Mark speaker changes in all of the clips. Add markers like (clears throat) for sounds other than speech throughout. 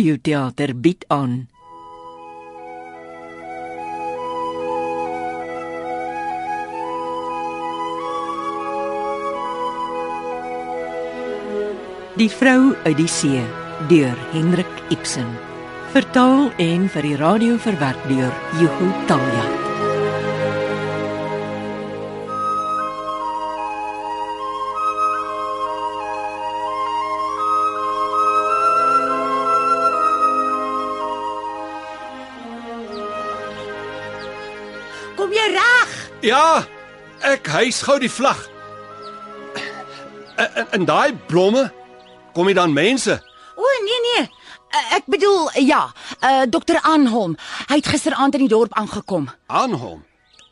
Speaker 1: Radioteater bied aan Die vrou uit die see deur Hendrik Ibsen. Vertaal en vir die radio verwerk deur Jugo Talja.
Speaker 2: Kom jy reg?
Speaker 3: Ja, ek hys gou die vlag. En, en, en daai blomme, kom dit dan mense?
Speaker 2: O nee nee. Eh, Ek bedoel ja, uh, dokter Anholm. Hy het gisteraand in die dorp aangekom.
Speaker 3: Aan hom.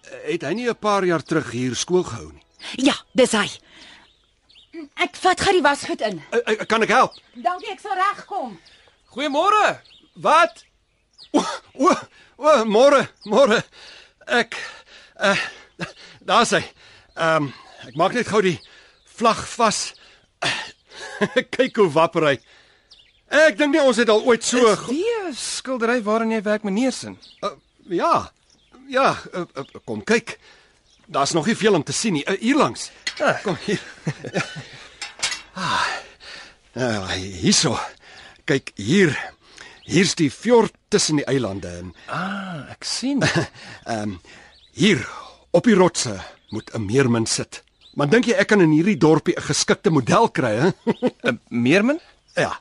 Speaker 3: Eh, Het hy nie 'n paar jaar terug hier skool gehou nie?
Speaker 2: Ja, dis hy. Ek vat gou die wasgoed in.
Speaker 3: Ek- Ek Eh, kan ek help.
Speaker 2: Dankie, ek sal regkom.
Speaker 3: Goeiemôre. Wat? O, o, o môre, môre. Ek uh, daar's hy. Ehm um, ek maak net gou die vlag vas. (laughs) Kyk hoe wapper hy. Ek dink nie ons het al ooit so
Speaker 4: Is die 'n skildery waarin jy werk meneer sin.
Speaker 3: Uh, ja. Ja, uh, uh, kom kyk. Daar's nog nie veel om te sien nie. Uh, hier langs.
Speaker 4: Ah.
Speaker 3: Kom hier. ah. Nou, hierso. Kyk hier. Hier's die fjord tussen die eilande en
Speaker 4: Ah, ek sien.
Speaker 3: (laughs) ehm um, hier op die rotse moet 'n meermin sit. Maar dink jy ek kan in hierdie dorpie 'n geskikte model kry, hè? (laughs)
Speaker 4: 'n Meermin?
Speaker 3: ja,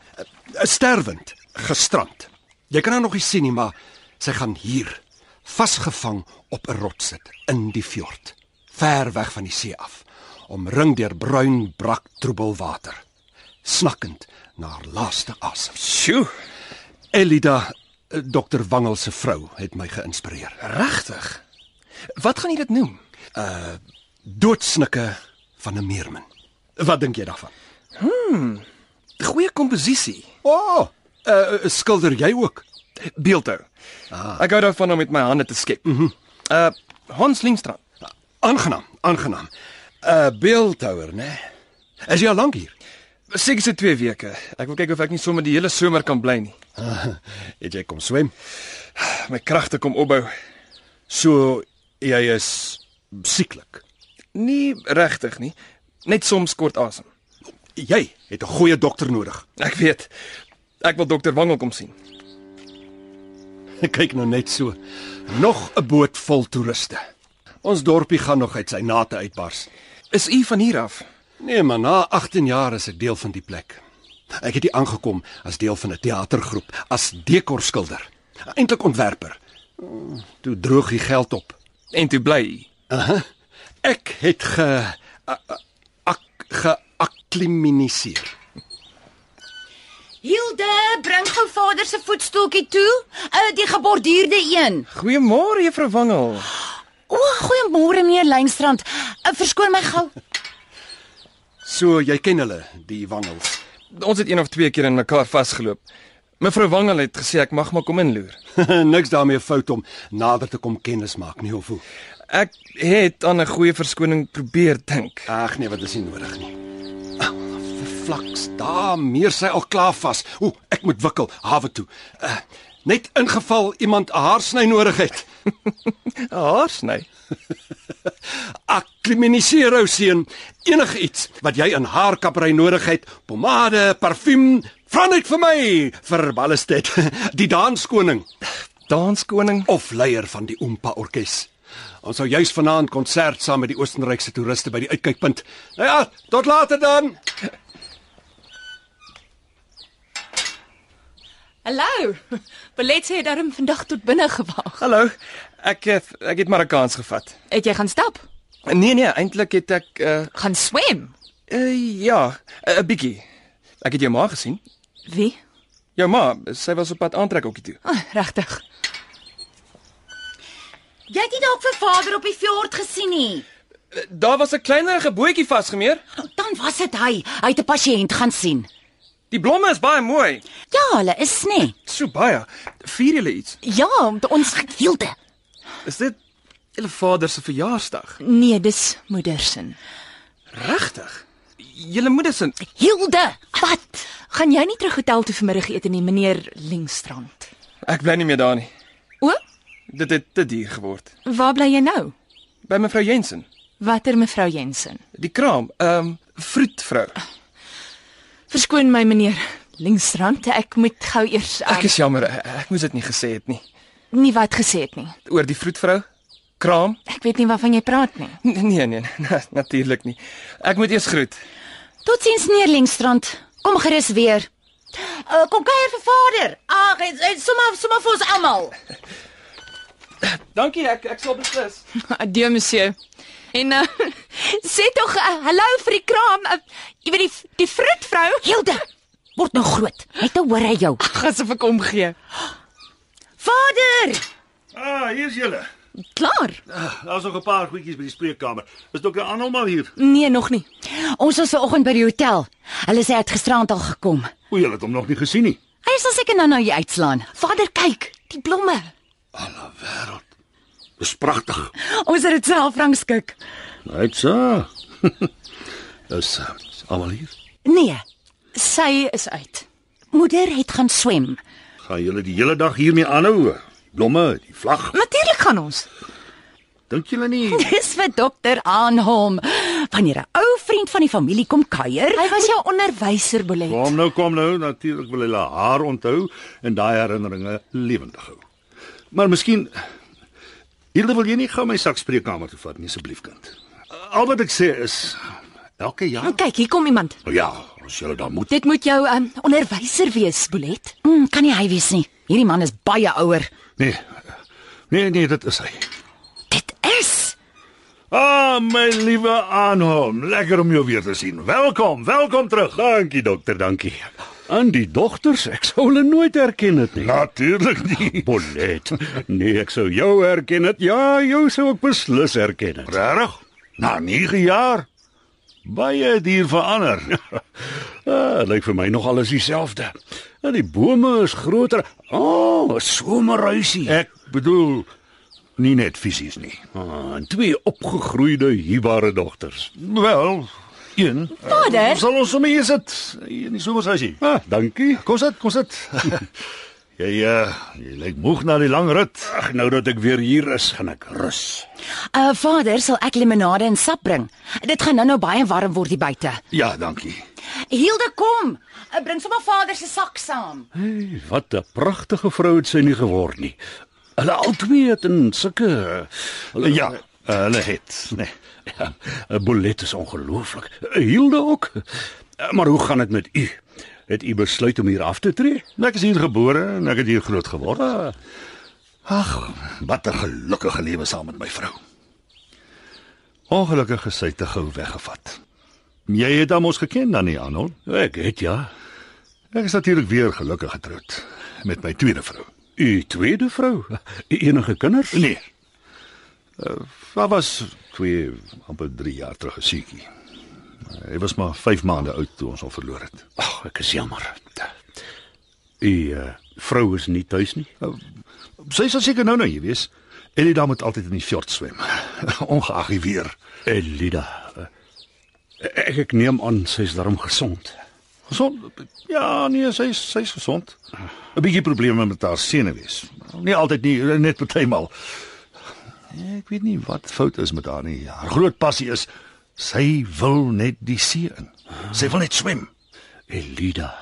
Speaker 3: 'n sterwend, gestrand. Jy kan haar nog nie sien nie, maar sy gaan hier vasgevang op 'n rots sit in die fjord, ver weg van die see af, omring deur bruin brak troebel water, snakkend na haar laaste asem.
Speaker 4: Sjoe,
Speaker 3: Elida, eh, dokter Wangel se vrou, het my geïnspireer.
Speaker 4: regtig. Wat gaan jy dit noem?
Speaker 3: Eh, Doodsnikke van 'n meermin. Wat dink jy daarvan?
Speaker 4: Hmm, Goeie komposisie.
Speaker 3: O, oh, uh, skilder jy ook?
Speaker 4: Beeldhou. Ah. Ek hou daarvan om met my hande te skep. Mhm. Mm uh Hans Lindstrand.
Speaker 3: Aangenaam, aangenaam. 'n uh, Beeldhouer, né? Is jy al lank hier?
Speaker 4: Seker se 2 weke. Ek wil kyk of ek nie sommer die hele somer kan bly nie.
Speaker 3: Eh, Het jy kom swem?
Speaker 4: My kragte kom opbou.
Speaker 3: So jy is sieklik.
Speaker 4: Nie regtig nie. Net soms kort asem.
Speaker 3: Jy het 'n goeie dokter nodig.
Speaker 4: Ek weet. Ek wil dokter Wangel kom
Speaker 3: (laughs)
Speaker 4: sien.
Speaker 3: Kyk nou net so. Nog 'n boot vol toeriste. Ons dorpie gaan nog uit sy nate uitbars.
Speaker 4: Is u van hier af?
Speaker 3: Nee, maar na 18 jaar is ek deel van die plek. Ek het hier aangekom as deel van 'n teatergroep, as dekorskilder, eintlik ontwerper. Toe droog die geld op.
Speaker 4: En toe bly u?
Speaker 3: Aha. Ek het ge a- a- ak geakklimatiseer.
Speaker 2: Hilde, bring gou vader se voetstoeltjie toe, uh, die geborduurde een.
Speaker 4: Goeiemôre juffrou Wangel.
Speaker 2: O, goeiemôre meneer Lynstrand. Uh, verskoon my gou.
Speaker 3: So jy ken hulle, die wangels.
Speaker 4: Ons het een of twee keer in mekaar vasgeloop. Mevrou Wangel het gesê ek mag maar kom inloer.
Speaker 3: (laughs) Niks daarmee fout om nader te kom kennis maak nie of hoe.
Speaker 4: Ek het aan 'n goeie verskoning probeer dink.
Speaker 3: Ag nee, wat is nie nodig nie. Ah, Flaks, daar meer sy al klaar vas. O, ek moet wikkel hawe toe. Uh, net ingeval iemand 'n haarsny nodig
Speaker 4: (laughs)
Speaker 3: het.
Speaker 4: Haar sny.
Speaker 3: Akklimatiseer ou seun, enige iets wat jy in haarkappery nodig het, pomade, parfuum, vra net vir my vir Ballestet, (laughs) die danskoning
Speaker 4: Danskoning.
Speaker 3: of leier van die Oompa orkes. Ons sou juis vanaand konsert saam met die Oostenrykse toeriste by die uitkykpunt. Nou ja, tot later dan.
Speaker 5: Hallo. (laughs) Belet sê jy darm vandag tot binne gewag.
Speaker 4: Hallo. Ek het- ek het maar 'n kans gevat.
Speaker 5: Het jy gaan stap?
Speaker 4: Nee nee, eintlik het ek uh,
Speaker 5: Gaan swem?
Speaker 4: uh ja, 'n uh, bietjie. Ek het jou ma gesien.
Speaker 5: Wie?
Speaker 4: Jou ma, sy was op pad aantrekhokkie toe.
Speaker 5: Oh, regtig.
Speaker 2: Jy het nie dalk vir vader op die fjord gesien nie.
Speaker 4: Eh, Daar was 'n kleinerige bootjie vasgemeer.
Speaker 2: Nou, Dan was dit hy. Hy het 'n pasiënt gaan sien.
Speaker 4: Die blomme is baie mooi.
Speaker 2: Ja, hulle is nê.
Speaker 4: So baie. Vier julle iets?
Speaker 5: Ja, want ons
Speaker 2: Hilde.
Speaker 4: Is dit julle vader se verjaarsdag?
Speaker 5: Nee, dis moedersin.
Speaker 4: Regtig? Julle moeder se
Speaker 2: Hilde,
Speaker 5: Wat? Gaan jy nie terug hotel toe vanmiddagete nie, meneer Lingstrand?
Speaker 4: ek bly nie meer daar nie.
Speaker 5: O,
Speaker 4: Dit het te duur geword.
Speaker 5: waar bly jy nou?
Speaker 4: By mevrou Jensen,
Speaker 5: Watter mevrou Jensen?
Speaker 4: die kraam, ehm um, vroedvrou.
Speaker 5: Verskoon my meneer Lingstrand, ek moet gou eers aan-
Speaker 4: Ek is jammer, e, ek moes dit nie gesê het nie.
Speaker 5: nie wat gesê het nie.
Speaker 4: Oor die vroedvrou? Kraam?
Speaker 5: Ek weet nie waarvan jy praat nie.
Speaker 4: Nee nee, nee natuurlik nie. Ek moet eers groet.
Speaker 2: totsiens Neerlingstrand. Kom gerus weer. Uh, kom kuier vir vader. Ag, en- en sommer sommer vir ons almal.
Speaker 4: Dankie, ek ek sal beslis.
Speaker 5: (laughs) Adieu monsieur. En uh, (laughs) sê tog uh, hallo vir die kraam. Uh, jy weet die die vrutvrou
Speaker 2: Hilde, word nou groot. Net nou hoor hy jou.
Speaker 5: asof ek omgee.
Speaker 2: Vader!
Speaker 6: Ah, hier's julle.
Speaker 5: Klaar?
Speaker 6: Daar's Ah, nog 'n paar goedjies by die spreekkamer. Is dokter Anhol maar hier?
Speaker 5: Nee, nog nie.
Speaker 2: Ons was vanoggend by die hotel. Hulle sê hy het gisterand al gekom.
Speaker 6: O, julle het hom nog nie gesien nie.
Speaker 2: Hy sal seker nou nou jy uitslaan. Vader, kyk,
Speaker 5: Die blomme.
Speaker 6: Dis pragtig.
Speaker 2: ons het dit self rangskik.
Speaker 6: (laughs) Hytsa. Dis eh, is almal hier.
Speaker 2: Nee, (laughs)
Speaker 5: Sy is uit.
Speaker 2: moeder het gaan swem.
Speaker 6: Gaan julle die hele dag hiermee aanhou? Blomme, die vlag.
Speaker 5: Natuurlik gaan ons.
Speaker 6: Dink julle nie?
Speaker 2: (laughs) Dis vir dokter aan hom. Wanneer 'n ou vriend van die familie kom kuier,
Speaker 5: Hy was jou onderwyser Bolet.
Speaker 6: Kom nou, kom nou. Natuurlik wil hulle haar onthou en daai herinneringe lewendig hou. Maar miskien Hilde wil jy nie gou my sak spreekkamer toe vat nie asseblief kind. Al wat ek sê is elke
Speaker 4: Ja?
Speaker 6: jaar
Speaker 5: Kyk, hier kom iemand.
Speaker 6: Nou ja, as julle dan moet
Speaker 5: Dit moet jou
Speaker 2: ehm,
Speaker 5: um, onderwyser wees, Bolet.
Speaker 2: mm, kan nie hy wees nie. Hierdie man is baie ouer.
Speaker 6: Nee. Nee, nee, dit is hy.
Speaker 2: Dit is
Speaker 6: Ah, my liewe Anhom, lekker om jou weer te sien. Welkom, welkom terug.
Speaker 7: Dankie dokter, dankie. Aan die dogters, ek sou hulle nooit herken het nie.
Speaker 6: Natuurlik nie.
Speaker 7: Bonnet. Nee, ek sou jou herken het. Ja, jou sou ek beslis herken het.
Speaker 6: Regtig? Na 9 jaar. Baie dier verander.
Speaker 7: (laughs) Ah, lyk vir my nog alles dieselfde. En die bome is groter. O, oh, somerhuisie.
Speaker 6: Ek bedoel nie net fisies nie.
Speaker 7: Ah, en twee opgegroeide hierbare dogters.
Speaker 6: Wel, een. Eh,
Speaker 5: Vader?
Speaker 6: Sal ons sommer hier sit in die somersasie.
Speaker 7: Ah, dankie.
Speaker 6: Kom sit, kom sit. (laughs) jy uh, jy lyk moeg na die lang rit.
Speaker 7: Ag, nou dat ek weer hier is, gaan ek rus.
Speaker 2: 'n uh, vader sal ek limonade en sap bring. Dit gaan nou-nou baie warm word hier buite.
Speaker 6: Ja, dankie.
Speaker 2: Hilde, kom.
Speaker 8: Eh,
Speaker 2: Uh, bring sommer vader se sak saam.
Speaker 7: Hey, wat 'n pragtige vrou het sy nie geword nie. Hulle albei het in sulke hulle,
Speaker 6: Ja,
Speaker 7: hulle het, nee. Ja, Bullet is ongelooflik. Hilde ook. Maar hoe gaan dit met u? Het u besluit om hier af te tree?
Speaker 6: Ek is hier gebore en ek het hier groot geword.
Speaker 7: Ah,
Speaker 6: Wat 'n gelukkige lewe saam met my vrou. Ongelukkig is sy te gou weggevat. Jy het hom ons geken dan nie, Anon.
Speaker 7: ek het ja.
Speaker 6: Ek is natuurlik weer gelukkig getroud met my tweede vrou.
Speaker 7: U tweede vrou, U enige kinders?
Speaker 6: Nee. Eh, Sy was 2 amper 3 jaar terug gesiekie. Hy was maar 5 maande oud toe ons hom verloor het.
Speaker 7: Ag, ek is jammer. U uh, vrou is nie tuis nie.
Speaker 6: Eh, Sy sal seker nou nou hier wees. Elida moet altyd in die fjord swem, (laughs) ongeag die weer.
Speaker 7: Elida. eh, Ek, ek neem aan sy is daarom gesond.
Speaker 6: Gesond? Ja, nee, sy is- sy is gesond. 'n Bietjie probleme met haar senuwees. Nie altyd nie, net partymal.
Speaker 7: Nee,
Speaker 6: Ek weet nie wat fout is met haar nie. Haar groot passie is sy wil net die see in. Sy wil net swem.
Speaker 7: Elida.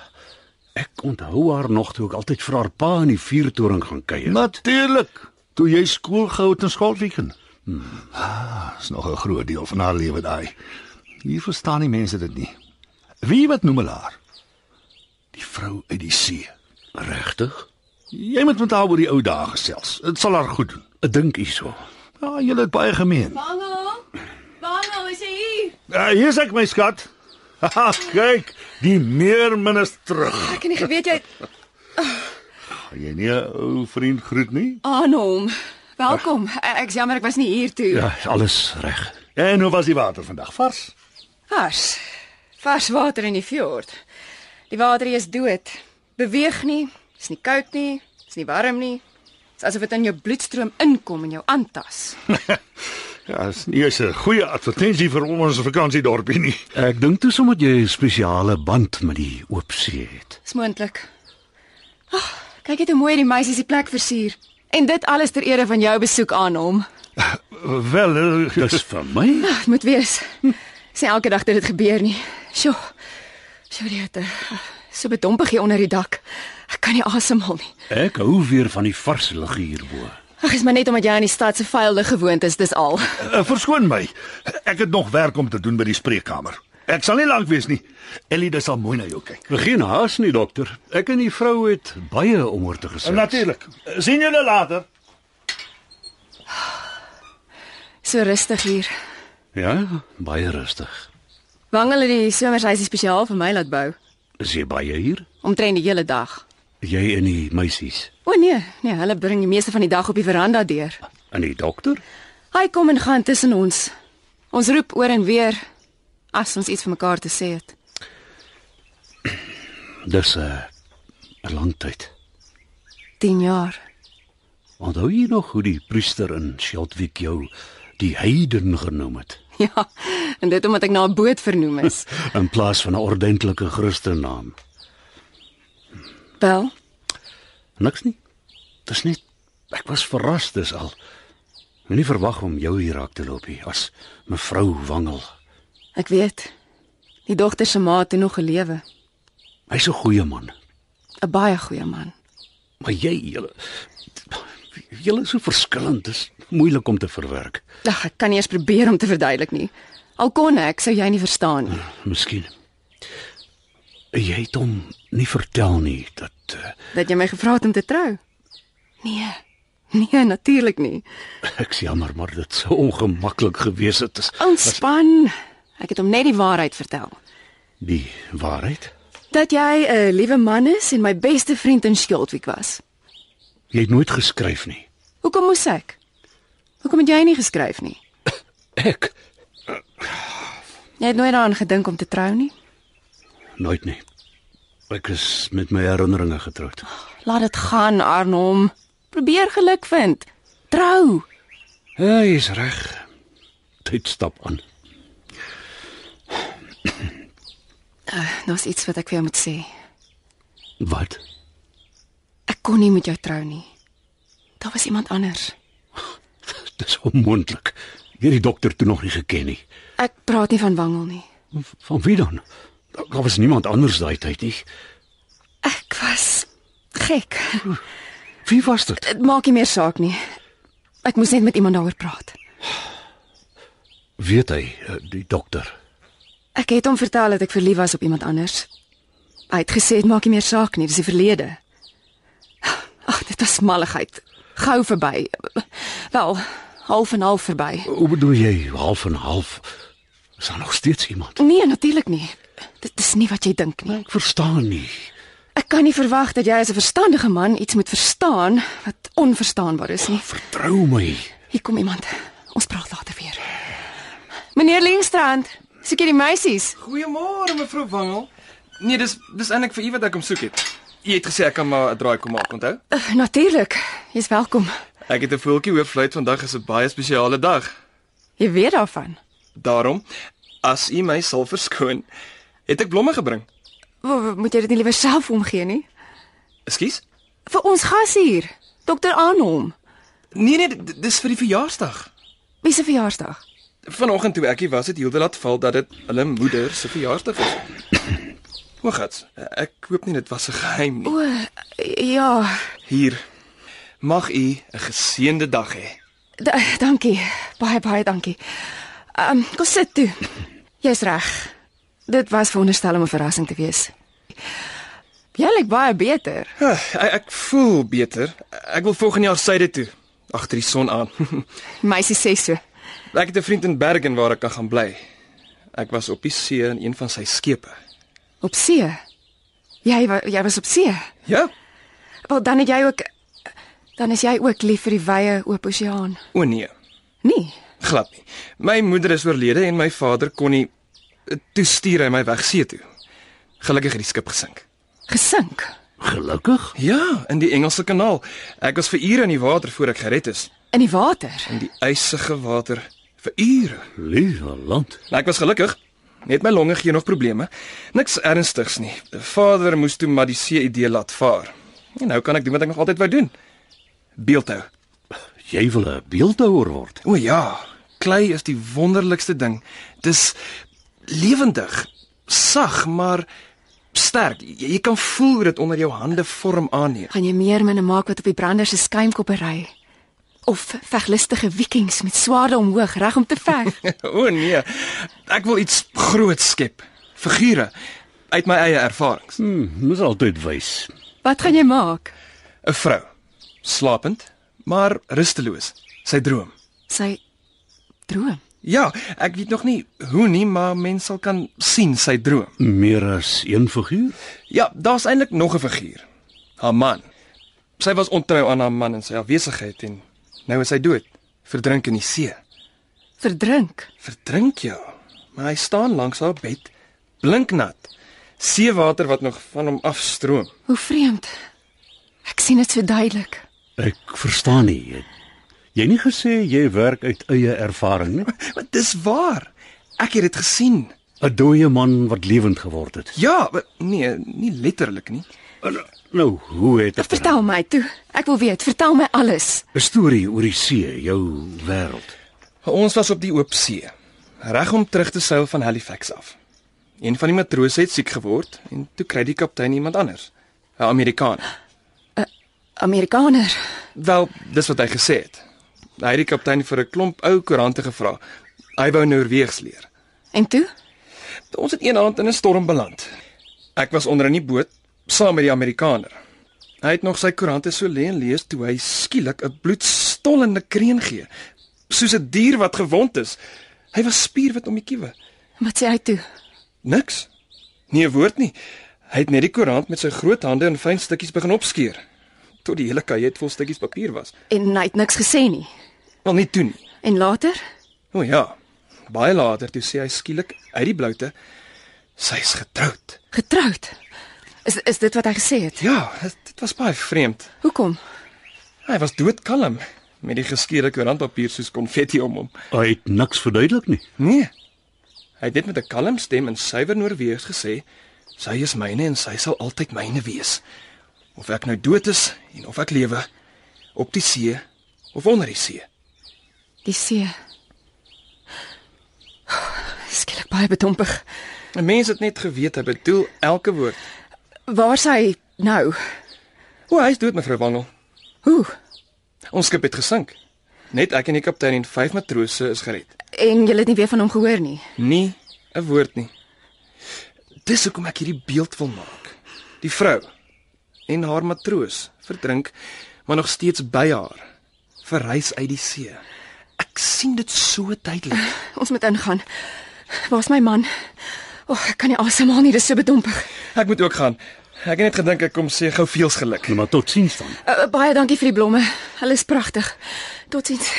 Speaker 7: Ek onthou haar nog toe ek altyd vir haar pa in die vuurtoring gaan kuier.
Speaker 6: Natuurlik. Toe jy skool gehou het in skoolweekend. Ah, is nog 'n groot deel van haar lewe daai. Hier verstaan die mense dit nie. Wie wat noem hulle haar? Die vrou uit die see.
Speaker 7: Regtig?
Speaker 6: Jy moet met haar oor die ou dae gesels. Dit sal haar goed doen.
Speaker 7: Ek dink hierso.
Speaker 6: Ja, julle het baie gemeen.
Speaker 5: Bango. Bango is hy hier.
Speaker 6: Ja, hier's ek my (laughs) skat. Haha, kyk, die meermin is terug.
Speaker 5: Ah, Ek het nie geweet jy
Speaker 6: Gaan Jy nie 'n ou vriend groet nie?
Speaker 5: aan hom. Welkom. Ek jammer ek was nie hier toe.
Speaker 7: Ja, is alles reg.
Speaker 6: En hoe was die water vandag? Vars?
Speaker 5: Vars. Vars water in die fjord. Die water hier is dood. Beweeg nie, is nie koud nie, is nie warm nie. Dit is asof dit in jou bloedstroom inkom en jou aantas.
Speaker 6: Ja, dis nie eers 'n goeie advertensie vir ons vakansiedorpie nie.
Speaker 7: Ek dink toe sommer jy 'n spesiale band met die oop see het.
Speaker 5: Dis moontlik. Ag, kyk net hoe mooi die meisies die plek versier. En dit alles ter ere van jou besoek aan hom.
Speaker 6: Wel, eh,
Speaker 7: Dis vir my.
Speaker 5: Ag, dit Ah, moet wees. Sê elke dag dat dit gebeur nie. Sjoe. Sjoe, dit so bedompig hier onder die dak. Ek kan nie asemhaal nie.
Speaker 7: Ek hou weer van die vars lug hierbo.
Speaker 5: Ag, is maar net omdat jy aan die stad se vuil lug gewoond is, dis al.
Speaker 6: eh, verskoon my. Ek het nog werk om te doen by die spreekkamer. Ek sal nie lank wees nie. Ellie, dis al mooi na jou kyk.
Speaker 7: Geen haas nie, dokter. Ek en die vrou het baie om oor te gesels.
Speaker 6: Natuurlik. Eh, Sien julle later.
Speaker 5: So rustig hier.
Speaker 7: Ja, baie rustig.
Speaker 5: Wang hulle die somershuisie spesiaal vir my laat bou,
Speaker 7: Is jy baie hier?
Speaker 5: omtrent die hele dag.
Speaker 7: Jy en die meisies.
Speaker 5: O nee, nee, hulle bring die meeste van die dag op die veranda deur.
Speaker 7: En die dokter?
Speaker 5: Hy kom en gaan tussen ons. Ons roep oor en weer as ons iets vir mekaar te sê het.
Speaker 7: Dis 'n uh, lang tyd.
Speaker 5: 10 jaar. (laughs)
Speaker 7: Onthou jy nog hoe die priester in Scheltwyk jou die heiden genoem het
Speaker 5: Ja, en dit omdat ek na 'n boot vernoem is.
Speaker 7: (laughs) in plaas van 'n ordentlike Christennaam?
Speaker 5: Wel,
Speaker 7: Niks nie. Dis net ek was verras dis al. Moenie verwag om jou hier raak te loop hier as mevrou Wangel.
Speaker 5: ek weet. Die dogter se ma het toe nog gelewe.
Speaker 7: Hy's 'n goeie man,
Speaker 5: 'n Baie goeie man.
Speaker 7: maar jy julle julle is so verskillend, dis moeilik om te verwerk.
Speaker 5: Ag, ek kan nie eens probeer om te verduidelik nie. Al kon ek, sou jy nie verstaan nie.
Speaker 7: Miskien jy het hom nie vertel nie dat uh,
Speaker 5: Dat jy my gevra het om te trou? Nee. Nee, natuurlik nie.
Speaker 7: Ek is jammer, maar dit sou ongemaklik gewees het as
Speaker 5: Ontspan. Ek het hom net die waarheid vertel.
Speaker 7: die waarheid.
Speaker 5: Dat jy 'n liewe man is en my beste vriend in Skildwyk was.
Speaker 7: Jy het nooit geskryf nie.
Speaker 5: Hoekom moes ek? Hoekom het jy nie geskryf nie?
Speaker 7: Ek
Speaker 5: Jy het nooit daaraan gedink om te trou nie.
Speaker 7: nooit nie. Ek is met my herinneringe getroud.
Speaker 5: Laat dit gaan, Arnom. Probeer geluk vind. Trou.
Speaker 7: Ja, jy's reg. Tyd stap aan.
Speaker 5: Eh, Daar's iets wat ek vir jou moet sê.
Speaker 7: Wat?
Speaker 5: Ek kon nie met jou trou nie. Daar was iemand anders.
Speaker 7: Dis onmoontlik. Jy het die dokter toe nog nie geken nie.
Speaker 5: Ek praat nie van Wangel nie.
Speaker 7: Van wie dan? Daar was niemand anders daai tyd nie.
Speaker 5: Ek was gek.
Speaker 7: Wie was dit?
Speaker 5: Dit maak nie meer saak nie. Ek moes net met iemand daaroor praat.
Speaker 7: Weet hy, eh, die dokter.
Speaker 5: Ek het hom vertel dat ek verlief was op iemand anders. Hy het gesê dit maak nie meer saak nie, dis die verlede. Ag, dit was malligheid. Gou verby. Wel, half en half verby.
Speaker 7: Hoe bedoel jy half en half? Is daar nog steeds iemand?
Speaker 5: Nee, natuurlik nie. Dit is nie wat jy dink nie.
Speaker 7: Ek verstaan nie.
Speaker 5: Ek kan nie verwag dat jy as 'n verstandige man iets moet verstaan wat onverstaanbaar is nie.
Speaker 7: Vertrou my.
Speaker 5: Hier kom iemand. Ons praat later weer. Meneer Lingstrand, soek jy die meisies?
Speaker 4: Goeiemôre mevrou Wangel. Nee, dis dis eintlik vir u wat ek kom soek het. Jy het gesê ek kan maar 'n draai kom maak, onthou?
Speaker 5: Uh, natuurlik. Jy's welkom.
Speaker 4: Ek het 'n voeltjie hoor fluit vandag is 'n baie spesiale dag.
Speaker 5: Jy weet daarvan.
Speaker 4: Daarom, as u my sal verskoon, het ek blomme gebring.
Speaker 5: Wo- wo- Moet jy dit nie liewer self omgee nie?
Speaker 4: Ekskuus?
Speaker 5: Vir ons gas hier, dokter Aanhom.
Speaker 4: Nee nee, dit- dis vir die verjaarsdag.
Speaker 5: Wie se verjaarsdag?
Speaker 4: Vanoggend toe ek hier was, het Hilde laat val dat dit hulle moeder se verjaarsdag is. Hoogats, ek hoop nie dit was 'n geheim nie.
Speaker 5: O, ja.
Speaker 4: Hier. Mag u 'n geseënde dag hê.
Speaker 5: Da, dankie. Baie baie dankie. Ehm, um, kom sit toe. Jy's reg. Dit was veronderstel om 'n verrassing te wees. Jy lyk baie beter.
Speaker 4: Ah, Ek, ek voel beter. Ek wil volgende jaar syde toe, agter die son aan. (laughs)
Speaker 5: Meisie sê so.
Speaker 4: ek het 'n vriend in Bergen waar ek kan gaan bly. Ek was op die see in een van sy skepe.
Speaker 5: Op see. Jy wa, jy was op see.
Speaker 4: Ja.
Speaker 5: Wel dan het jy ook dan is jy ook lief vir die wye oop oseaan.
Speaker 4: O nee,
Speaker 5: Nee.
Speaker 4: glad nie. My moeder is oorlede en my vader kon nie eh, toe stuur hy my weg see toe. Gelukkig het die skip gesink.
Speaker 5: Gesink.
Speaker 7: Gelukkig?
Speaker 4: Ja, in die Engelse kanaal. Ek was vir ure in die water voor ek gered is,
Speaker 5: In die water.
Speaker 4: in die ysige water vir ure.
Speaker 7: Liewe land.
Speaker 4: Nou, ek was gelukkig. Net my longe gee nog probleme. Niks ernstigs nie. Vader moes toe maar die CID laat vaar. En nou kan ek doen wat ek nog altyd wou doen. Beeldhou.
Speaker 7: Jy wil 'n beeldhouer word.
Speaker 4: O ja, klei is die wonderlikste ding. Dis lewendig, sag, maar sterk. Jy, jy kan voel hoe dit onder jou hande vorm aanneem.
Speaker 5: Gaan jy meer minne maak wat op die brander se skuimkoppe ry? Of veglustige vikings met swaarde omhoog reg om te veg?
Speaker 4: (laughs) o nee. Ek wil iets groot skep. Figure uit my eie ervarings. 'n
Speaker 7: Hm, Moet altyd wys.
Speaker 5: Wat gaan jy maak?
Speaker 4: Vrou, slapend, maar rusteloos. Sy droom.
Speaker 5: Sy droom.
Speaker 4: Ja, ek weet nog nie hoe nie, maar mens sal kan sien sy droom.
Speaker 7: Meer as een figuur?
Speaker 4: Ja, daar's eintlik nog 'n figuur. Haar man. Sy was ontrou aan haar man in sy afwesigheid en nou is hy dood, verdrink in die see.
Speaker 5: Verdrink.
Speaker 4: Verdrink jou. Maar hy staan langs haar bed, blinknat. Seewater wat nog van hom afstroom.
Speaker 5: Hoe vreemd. Ek sien dit so duidelik.
Speaker 7: Ek verstaan nie. Het Jy nie gesê jy werk uit eie ervaring
Speaker 4: (laughs)
Speaker 7: nie?
Speaker 4: Maar dis waar. Ek het dit gesien.
Speaker 7: 'n Dooie man wat lewend geword het.
Speaker 4: Ja, maar nee, nie letterlik nie.
Speaker 7: En, nou, hoe het dit?
Speaker 5: Vertel my toe. Ek wil weet, vertel my alles.
Speaker 7: 'n Storie oor die see, jou wêreld.
Speaker 4: Ons was op die oop see, reg om terug te seil van Halifax af. Een van die matrose het siek geword en toe kry die kaptein iemand anders, 'n Amerikaan.
Speaker 5: Eh, Amerikaner.
Speaker 4: Wel, dis wat hy gesê het. Hy het die kaptein vir 'n klomp ou koerante gevra. Hy wou Noorweegs leer.
Speaker 5: En toe?
Speaker 4: Ons het een aand in 'n storm beland. Ek was onder in die boot saam met die Amerikaner. Hy het nog sy koerante so lê en lees toe hy skielik 'n bloedstollende kreun gee, soos 'n dier wat gewond is. Hy was spierwit om die kiewe.
Speaker 5: Wat sê hy toe?
Speaker 4: Niks. Nie 'n woord nie. Hy het net die koerant met sy groot hande in fyn stukkies begin opskeer tot die hele kajet vol stukkies papier was.
Speaker 5: En hy het niks gesê nie.
Speaker 4: Wel nie toe nie.
Speaker 5: En later?
Speaker 4: O ja. Baie later toe sê hy skielik uit die bloute sy's getroud.
Speaker 5: Getroud. Is is dit wat hy gesê het?
Speaker 4: Ja, dit, dit was baie vreemd.
Speaker 5: Hoekom?
Speaker 4: Hy was doodkalm met die geskeurde koerantpapier soos konfetti om hom.
Speaker 7: Hy het niks verduidelik nie.
Speaker 4: Nee. Hy het net met 'n kalm stem in suiwer Noorweegs gesê: "Sy is myne en sy sal altyd myne wees. Of ek nou dood is en of ek lewe op die see of onder die see."
Speaker 5: Die see. Skielik baie bedompig.
Speaker 4: 'n Mens het net geweet hy bedoel elke woord.
Speaker 5: Waar's hy nou?
Speaker 4: O, hy's dood mevrou Wangel.
Speaker 5: Hoe?
Speaker 4: Ons skip het gesink. Net ek en die kaptein en vyf matrose is gered.
Speaker 5: En jy het nie weer van hom gehoor nie.
Speaker 4: Nie 'n woord nie. Dis hoekom ek hierdie beeld wil maak. Die vrou en haar matroos verdrink, maar nog steeds by haar, verrys uit die see. Ek sien dit so duidelik.
Speaker 5: Ons moet ingaan. Waar's my man? O, oh, ek kan nie asemhaal nie, dis so bedompig.
Speaker 4: Ek moet ook gaan. Ek het net gedink ek kom sê gou veels geluk.
Speaker 7: Nou maar totsiens dan.
Speaker 5: Uh, baie dankie vir die blomme. Hulle is pragtig. Totsiens.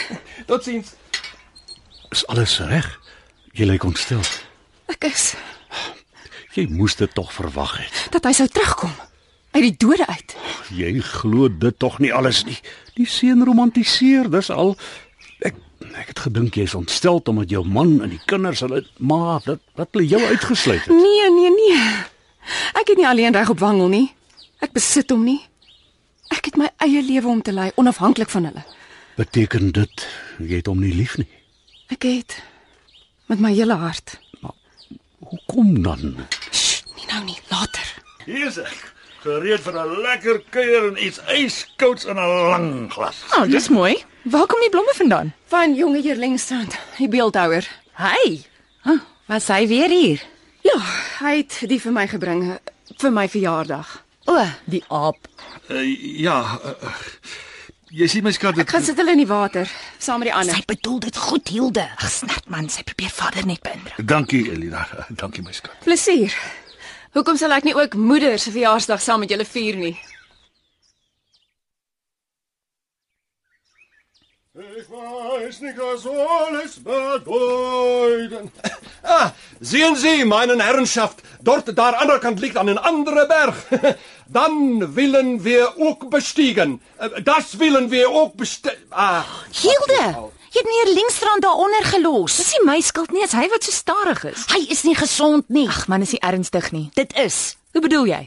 Speaker 4: Totsiens.
Speaker 7: Is alles reg? Jy lyk ontstel.
Speaker 5: Ek is
Speaker 7: Jy moes dit tog verwag het.
Speaker 5: dat hy sou terugkom uit die dode uit.
Speaker 7: Jy glo dit tog nie alles nie. Die seun romantiseer, dis al. Ek ek het gedink jy's ontstel omdat jou man en die kinders hulle maar dat dat hulle jou uitgesluit het.
Speaker 5: Nee, nee, nee. Ek het nie alleen reg op wangel nie. Ek besit hom nie. Ek het my eie lewe om te lei, onafhanklik van hulle.
Speaker 7: Beteken dit jy het hom nie lief nie?
Speaker 5: Ek het met my hele hart.
Speaker 7: Hoekom dan?
Speaker 5: Sst, nie nou nie, later.
Speaker 6: Hier's ek, gereed vir 'n lekker kuier en iets yskouds in 'n lang glas.
Speaker 8: Oh, dis mooi. Waar kom die blomme vandaan?
Speaker 5: Van jonge Hierlingstrand, die beeldhouer.
Speaker 8: Hy. Huh, was hy weer hier?
Speaker 5: Ja, hy het die vir my gebring vir my verjaardag.
Speaker 8: O, die aap.
Speaker 6: Uh, ja. Uh, uh, jy sien my skat, dit
Speaker 5: Ek gaan sit hulle in die water saam met die ander.
Speaker 8: Sy bedoel dit goed, Hilde. Ag, snert man, sy probeer vader net beïndruk.
Speaker 6: Dankie Elina, eh, (laughs) dankie my skat.
Speaker 5: Plesier. Hoekom sal ek nie ook moeder se verjaarsdag saam met julle vier nie?
Speaker 6: Ek wys nie gas alles bedoel.
Speaker 3: Ah, sehen Sie, meine Herrenschaft, dort da an der Kant liegt ein anderer Berg. (laughs) Dann Äh, willen wir auch bestiegen. Das willen wir auch bestiegen. Ah,
Speaker 8: Hilde,
Speaker 2: Jy het meneer Linkstrand daaronder gelos.
Speaker 8: Dis nie my skuld nie, is hy wat so stadig is.
Speaker 2: Hy is nie gesond nie.
Speaker 8: Ag man, is nie ernstig nie.
Speaker 2: Dit is.
Speaker 8: Hoe bedoel jy?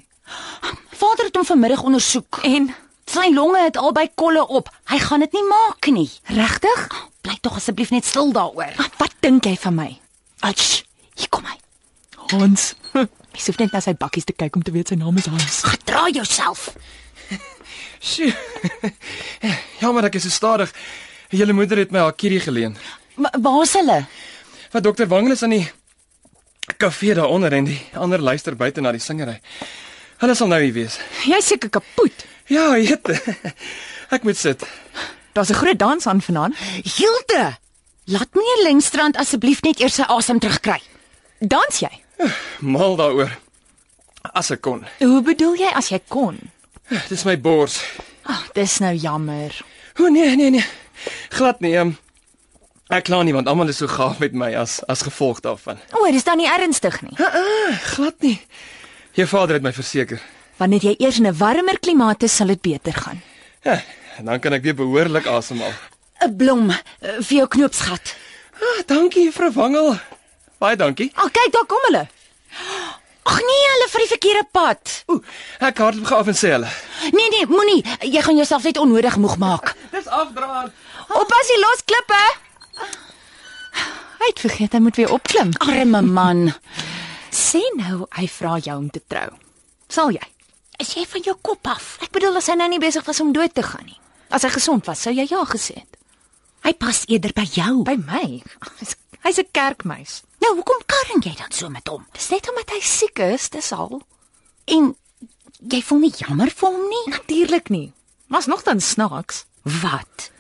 Speaker 2: Vader het hom vanmiddag ondersoek.
Speaker 8: En
Speaker 2: Sy longe het albei kolle op. Hy gaan dit nie maak nie.
Speaker 8: regtig?
Speaker 2: Bly tog asseblief net stil daaroor.
Speaker 8: Wat dink jy van my?
Speaker 2: Ach, hier kom hy.
Speaker 8: (laughs) Hans. Mens hoef net na sy bakkies te kyk om te weet sy naam is Hans.
Speaker 2: Gedra jouself.
Speaker 4: Sjoe. Jammer ek is so stadig. Julle moeder het my haar kierie geleen.
Speaker 2: Ma- Waar's hulle?
Speaker 4: Wat dokter Wangel is aan die kafee daaronder en die ander luister buite na die singery. Hulle sal nou hier wees.
Speaker 8: Jy's seker kapot.
Speaker 4: Ja, eet. (laughs) Ek moet sit.
Speaker 8: Daar's 'n groot dans aan vanaand.
Speaker 2: Hilde. Laat meneer Linkstrand asseblief net eers sy asem terugkry.
Speaker 8: Dans jy?
Speaker 4: Mal daaroor. As ek kon.
Speaker 8: Hoe bedoel jy as jy kon?
Speaker 4: Dis my bors.
Speaker 8: Ag, oh, dis nou jammer.
Speaker 4: O nee, nee, nee. Glad nie. Um, ek kla nie want almal is so gaaf met my as as gevolg daarvan.
Speaker 8: O, oh, dis dan nie ernstig nie.
Speaker 4: Ah, Glad nie. Jou vader het my verseker.
Speaker 8: Wanneer jy eers in 'n warmer klimaat is, sal dit beter gaan.
Speaker 4: Ja, en dan kan ek weer behoorlik asemhaal.
Speaker 2: 'n Blom eh, vir jou knoopsgat.
Speaker 4: Ah, dankie juffrou Wangel. Baie dankie.
Speaker 8: Ag, kyk, daar kom hulle.
Speaker 2: Ag nee, hulle vir die verkeerde pad.
Speaker 4: Ooh, ek hardloop gou af en sê hulle.
Speaker 2: Nee nee, moenie. Jy gaan jouself net onnodig moeg maak.
Speaker 4: Dis afdraan.
Speaker 2: Oppas die los klippe.
Speaker 8: Hy het vergeet hy moet weer opklim.
Speaker 2: Arme man.
Speaker 8: Sê nou hy vra jou om te trou. Sal jy?
Speaker 2: Is jy van jou kop af?
Speaker 8: Ek bedoel as hy nou nie besig was om dood te gaan nie. As hy gesond was, sou jy ja gesê het.
Speaker 2: Hy pas eerder by jou.
Speaker 8: By my. Hy's- Hy's 'n kerkmeis.
Speaker 2: Nou, hoekom karring jy dan so met hom?
Speaker 8: Dis net omdat hy siek is, dis al.
Speaker 2: En jy voel nie jammer vir hom nie?
Speaker 8: Natuurlik nie. Maar's nogtans snaaks
Speaker 2: Wat?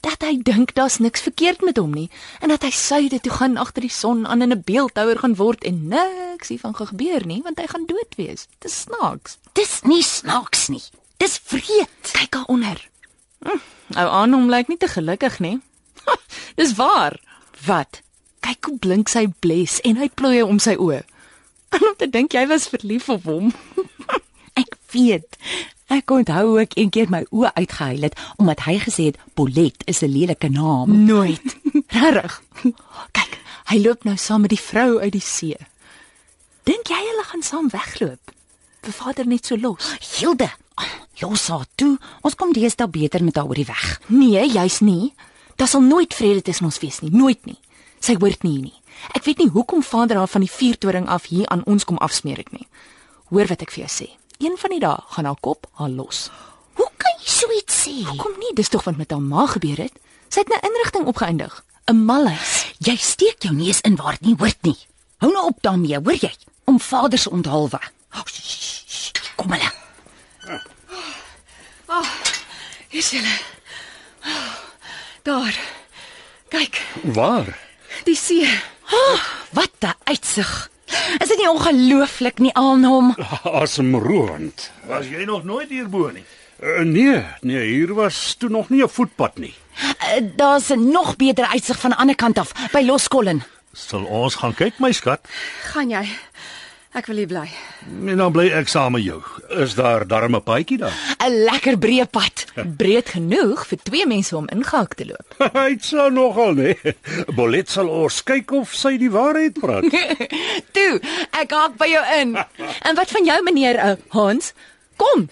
Speaker 8: dat hy dink daar's niks verkeerd met hom nie en dat hy suide toe gaan agter die son aan in 'n beeldhouer gaan word en niks hiervan gaan gebeur nie want hy gaan dood wees. Dis snaaks.
Speaker 2: Dis nie snaaks nie. Dis vreed.
Speaker 8: Kyk haar onder. Hm, ou aan hom lyk nie te gelukkig nie. dis waar.
Speaker 2: Wat?
Speaker 8: Kyk hoe blink sy bles en hy plooie om sy oë. (laughs) En om te dink jy was verlief op hom. (laughs)
Speaker 2: Ek weet. Ek onthou ook een keer my oë uitgehuil het omdat hy gesê het Polet is 'n lelike naam.
Speaker 5: Mm.
Speaker 8: Nooit. (laughs) Regtig. Kyk, hy loop nou saam met die vrou uit die see. Dink jy hulle gaan saam wegloop? Vir vader net so los.
Speaker 2: Hilde, los haar toe. Ons kom deesdae beter met haar oor die weg.
Speaker 8: Nee, juis nie. Daar sal nooit vrede tussen ons wees nie, nooit nie. Sy hoort nie hier nie. Ek weet nie hoekom vader haar van die vuurtoring af hier aan ons kom afsmeer het nie. Hoor wat ek vir jou sê. Een van die dae gaan haar kop haar los.
Speaker 2: Hoe kan jy so iets sê?
Speaker 8: Kom nie, dis tog wat met haar ma gebeur het. Sy het 'n inrigting opgeëindig, 'n malhuis.
Speaker 2: Jy steek jou neus in
Speaker 8: (laughs)
Speaker 2: waar dit nie hoort nie. Hou nou op daarmee, hoor jy? Om vader se onthaalwe. Oh, sh- sh- sh- kom hulle.
Speaker 5: Hier's julle. Daar. Kyk,
Speaker 4: Waar?
Speaker 5: die see.
Speaker 2: Wat 'n uitsig. Is dit nie ongelooflik nie aan hom?
Speaker 7: Asemroerend.
Speaker 6: Was jy nog nooit hierbo nie?
Speaker 7: Uh, nee, nee, hier was (laughs) toe nog nie 'n voetpad nie.
Speaker 2: Uh, Daar's 'n nog beter uitsig van die ander kant af, by Loskollen.
Speaker 6: Sal ons gaan kyk, my skat?
Speaker 5: Gaan jy? Ek wil hier bly.
Speaker 6: En dan bly ek saam met jou. Is daar darm 'n paadjie dan?
Speaker 2: 'n Lekker breë pad.
Speaker 8: breed genoeg vir twee mense om ingehak te loop. (laughs)
Speaker 7: Dit sou nogal nee. Bolet sal ons kyk of sy die waarheid praat.
Speaker 8: (laughs) Toe, ek hak by jou
Speaker 2: (laughs)
Speaker 8: in. En wat van jou meneer uh, Hans? Kom,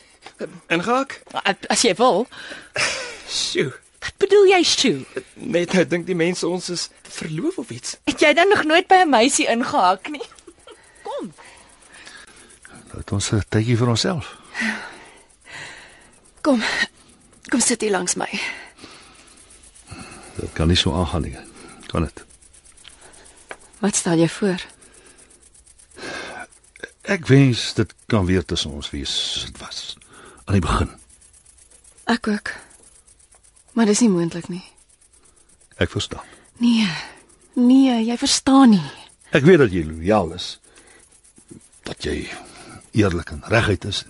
Speaker 4: Ingehak?
Speaker 8: uh, as jy wil.
Speaker 4: Sjoe.
Speaker 8: Wat bedoel jy, Sjoe?
Speaker 4: Net nou dink die mense ons is verloof of iets.
Speaker 8: Het jy dan nog nooit by 'n meisie ingehak nie?
Speaker 6: Laat ons 'n tydjie vir onsself.
Speaker 5: Kom. Kom sit hier langs my.
Speaker 6: Dit kan nie so aangaan nie. Kan dit?
Speaker 5: Wat stel jy voor?
Speaker 6: Ek wens dit kan weer tussen ons wees. Dit was aan die begin.
Speaker 5: Ek ook. Maar dis nie moontlik nie.
Speaker 6: Ek verstaan.
Speaker 5: Nee. Nee, jy verstaan nie.
Speaker 6: Ek weet dat jy lojaal is. Dat jy eerlik en reguit is.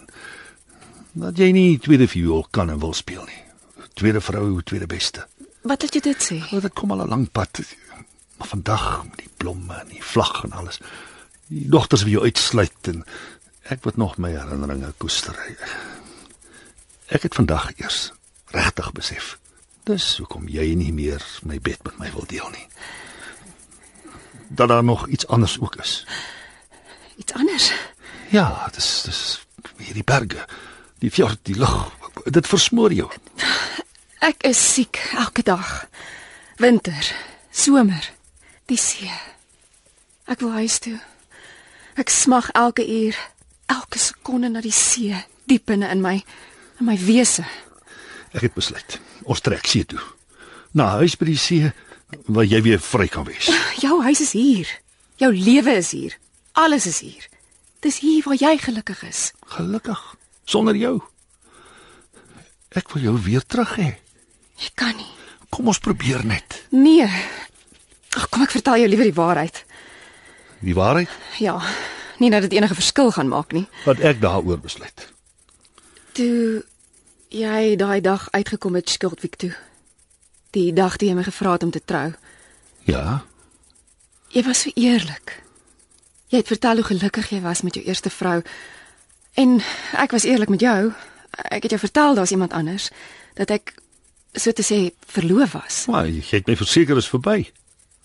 Speaker 6: Dat jy nie tweede viool kan en wil speel nie. Tweede vrou, tweede beste.
Speaker 5: Wat het jy dit sê?
Speaker 6: Want dit kom al 'n lang pad. Maar vandag met die blomme en die vlag en alles. Die dogters wil jou uitsluit en ek wat nog my herinneringe koester. Ek het vandag eers regtig besef Dis hoekom jy nie meer my bed met my wil deel nie. Dat daar nog iets anders ook is.
Speaker 5: Iets anders.
Speaker 6: Ja, dis dis hierdie berge, die fjord, die lug. Dit versmoor jou.
Speaker 5: Ek is siek elke dag. Winter, somer, die see. Ek wil huis toe. Ek smag elke uur, elke sekonde na die see, diep binne in my, in my wese.
Speaker 6: Ek het besluit. Ons trek see toe. Na 'n huis by die see waar jy weer vry kan wees.
Speaker 5: Jou huis is hier. Jou lewe is hier. Alles is hier. Dis hier waar jy gelukkig is.
Speaker 6: Gelukkig sonder jou. Ek wil jou weer terug hê.
Speaker 5: Jy kan nie.
Speaker 6: Kom ons probeer net.
Speaker 5: Nee. Ag kom ek vertel jou liewer die waarheid.
Speaker 6: Die waarheid
Speaker 5: Ja, nie dat dit enige verskil gaan maak nie.
Speaker 6: wat ek daaroor besluit.
Speaker 5: Toe jy daai dag uitgekom het Skildwijk toe. Die dag toe jy my gevra het om te trou.
Speaker 6: Ja,
Speaker 5: Jy was so eerlik. Jy het vertel hoe gelukkig jy was met jou eerste vrou. En ek was eerlik met jou. Ek het jou vertel daar's iemand anders dat ek so te sê verloof was.
Speaker 6: maar jy het my verseker is verby.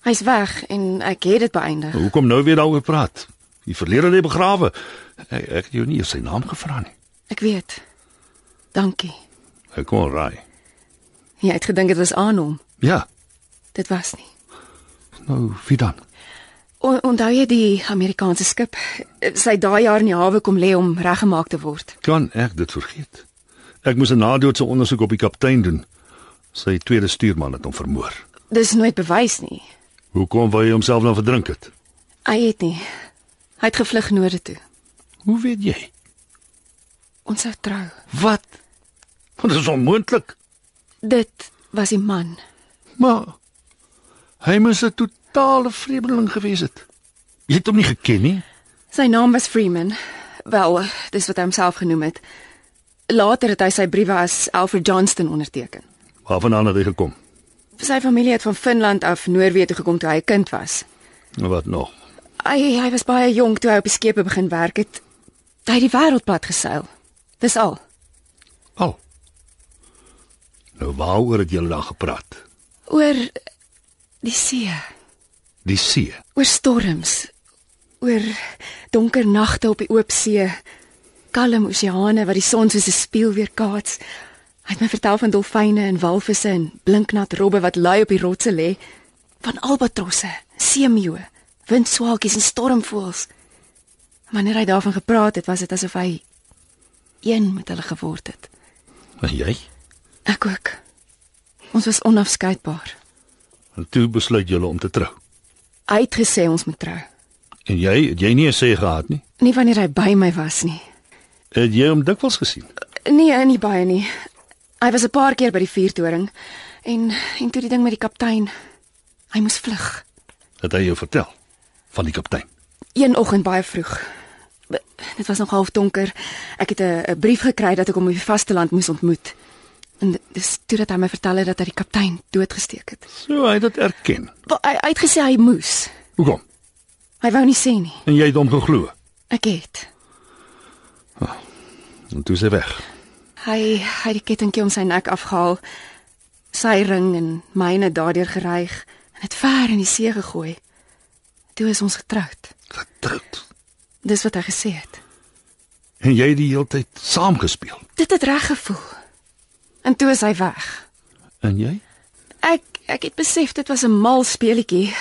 Speaker 5: Hy's weg en ek het dit beëindig.
Speaker 6: Hoekom nou weer daaroor praat? Die verlede lê begrawe. Ek, ek het jou nie eers sy naam gevra nie.
Speaker 5: Ek weet. Dankie.
Speaker 6: Ek kon raai.
Speaker 5: Jy het gedink dit was aan hom.
Speaker 6: Ja,
Speaker 5: Dit was nie.
Speaker 6: nou wie dan?
Speaker 5: O- Onthou jy die Amerikaanse skip? Sy daai jaar in die hawe kom lê om reggemaak te word.
Speaker 6: Kan ek dit vergeet? Ek moes 'n nadoetse ondersoek op die kaptein doen. Sy tweede stuurman het hom vermoor.
Speaker 5: Dis nooit bewys nie.
Speaker 6: Hoekom wou hy homself dan verdrink het?
Speaker 5: Hy het nie. Hy het gevlug noorde toe.
Speaker 6: Hoe weet jy?
Speaker 5: Ons sou trou.
Speaker 6: Wat? Want dit is onmoontlik.
Speaker 5: Dit was die man.
Speaker 6: Maar hy moes 'n totale vreemdeling gewees het. Jy het hom nie geken nie.
Speaker 5: Sy naam was Freeman. Wel, dis wat hy homself genoem het. Later het hy sy briewe as Alfred Johnston onderteken.
Speaker 6: Waarvandaan het hy gekom?
Speaker 5: Sy familie het van Finland af Noorwe toe gekom toe hy 'n kind was.
Speaker 6: En wat nog?
Speaker 5: Hy hy was baie jonk toe hy op die skepe begin werk het. Hy het die wêreld plat geseil. Dis al.
Speaker 6: Al. Oh. Nou waaroor het julle dan gepraat?
Speaker 5: Oor die see,
Speaker 6: Die see.
Speaker 5: oor storms, oor donker nagte op die oop see, kalm oseane wat die son soos 'n spieël weerkaats. Hy het my vertel van dolfyne en walvisse en blinknat robbe wat lui op die rotse lê, van albatrosse, seemeeue, windswaalkies en stormvoëls. Wanneer hy daarvan gepraat het, was dit asof hy een met hulle geword het.
Speaker 6: En jy?
Speaker 5: Ek ook. Ons was onafskeidbaar.
Speaker 6: En toe besluit julle om te trou.
Speaker 5: Hy het gesê ons moet trou.
Speaker 6: En jy, het jy nie 'n sê gehad nie?
Speaker 5: Nie wanneer hy by my was nie.
Speaker 6: Het jy hom dikwels gesien?
Speaker 5: Nee, nie baie nie. Hy was 'n paar keer by die vuurtoring en en toe die ding met die kaptein. Hy moes vlug.
Speaker 6: Het hy jou vertel van die kaptein?
Speaker 5: Een oggend baie vroeg. B- Dit was nog half donker. Ek het 'n- 'n brief gekry dat ek hom op die vasteland moes ontmoet. En d- dis toe dat hy my vertel het dat hy die kaptein doodgesteek het.
Speaker 6: So hy het dit erken.
Speaker 5: Wel, hy, hy het gesê hy moes.
Speaker 6: Hoekom?
Speaker 5: Hy wou nie sê nie.
Speaker 6: En jy het hom geglo.
Speaker 5: Ek het.
Speaker 6: En toe is hy weg.
Speaker 5: Hy hy het die kettingkie om sy nek afgehaal, sy ring en myne daardeur geryg en dit ver in die see gegooi. Toe is ons getroud.
Speaker 6: Getroud.
Speaker 5: Dis wat hy gesê het.
Speaker 6: En jy het die hele tyd saam gespeel.
Speaker 5: Dit het reg gevoel. En toe is hy weg.
Speaker 6: En jy?
Speaker 5: Ek ek het besef dit was 'n mal speletjie.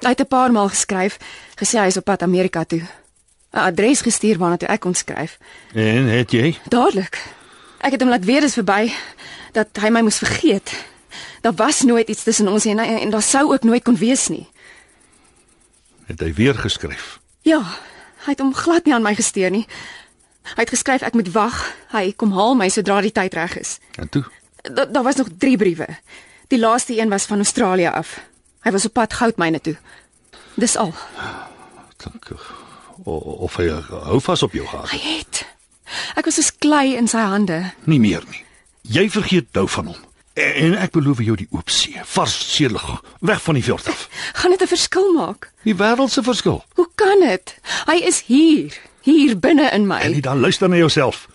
Speaker 5: Hy het 'n paar maal geskryf, gesê hy is op pad Amerika toe. 'n Adres gestuur waarna toe ek ontskryf.
Speaker 6: En het jy?
Speaker 5: Dadelik. Ek het hom laat weet dis verby dat hy my moes vergeet. Daar was nooit iets tussen ons en en, en daar sou ook nooit kon wees nie.
Speaker 6: Het hy weer geskryf?
Speaker 5: Ja, hy het hom glad nie aan my gesteer nie. Hy het geskryf ek moet wag. Hy kom haal my sodra die tyd reg is.
Speaker 6: En toe?
Speaker 5: Da, daar was nog 3 briewe. Die laaste een was van Australië af. Hy was op pad goudmyne toe. Dis al.
Speaker 6: Dink of hy hou vas op jou gehad
Speaker 5: Hy
Speaker 6: het.
Speaker 5: het. Ek was soos klei in sy hande.
Speaker 6: Nie meer nie. Jy vergeet nou van hom. En, en ek beloof jou die oop see, vars seelug, weg van die veld af.
Speaker 5: Gaan dit 'n verskil maak?
Speaker 6: Die wêreld se verskil.
Speaker 5: Hoe kan dit? Hy is hier, hier binne in my.
Speaker 6: En jy dan luister na jouself.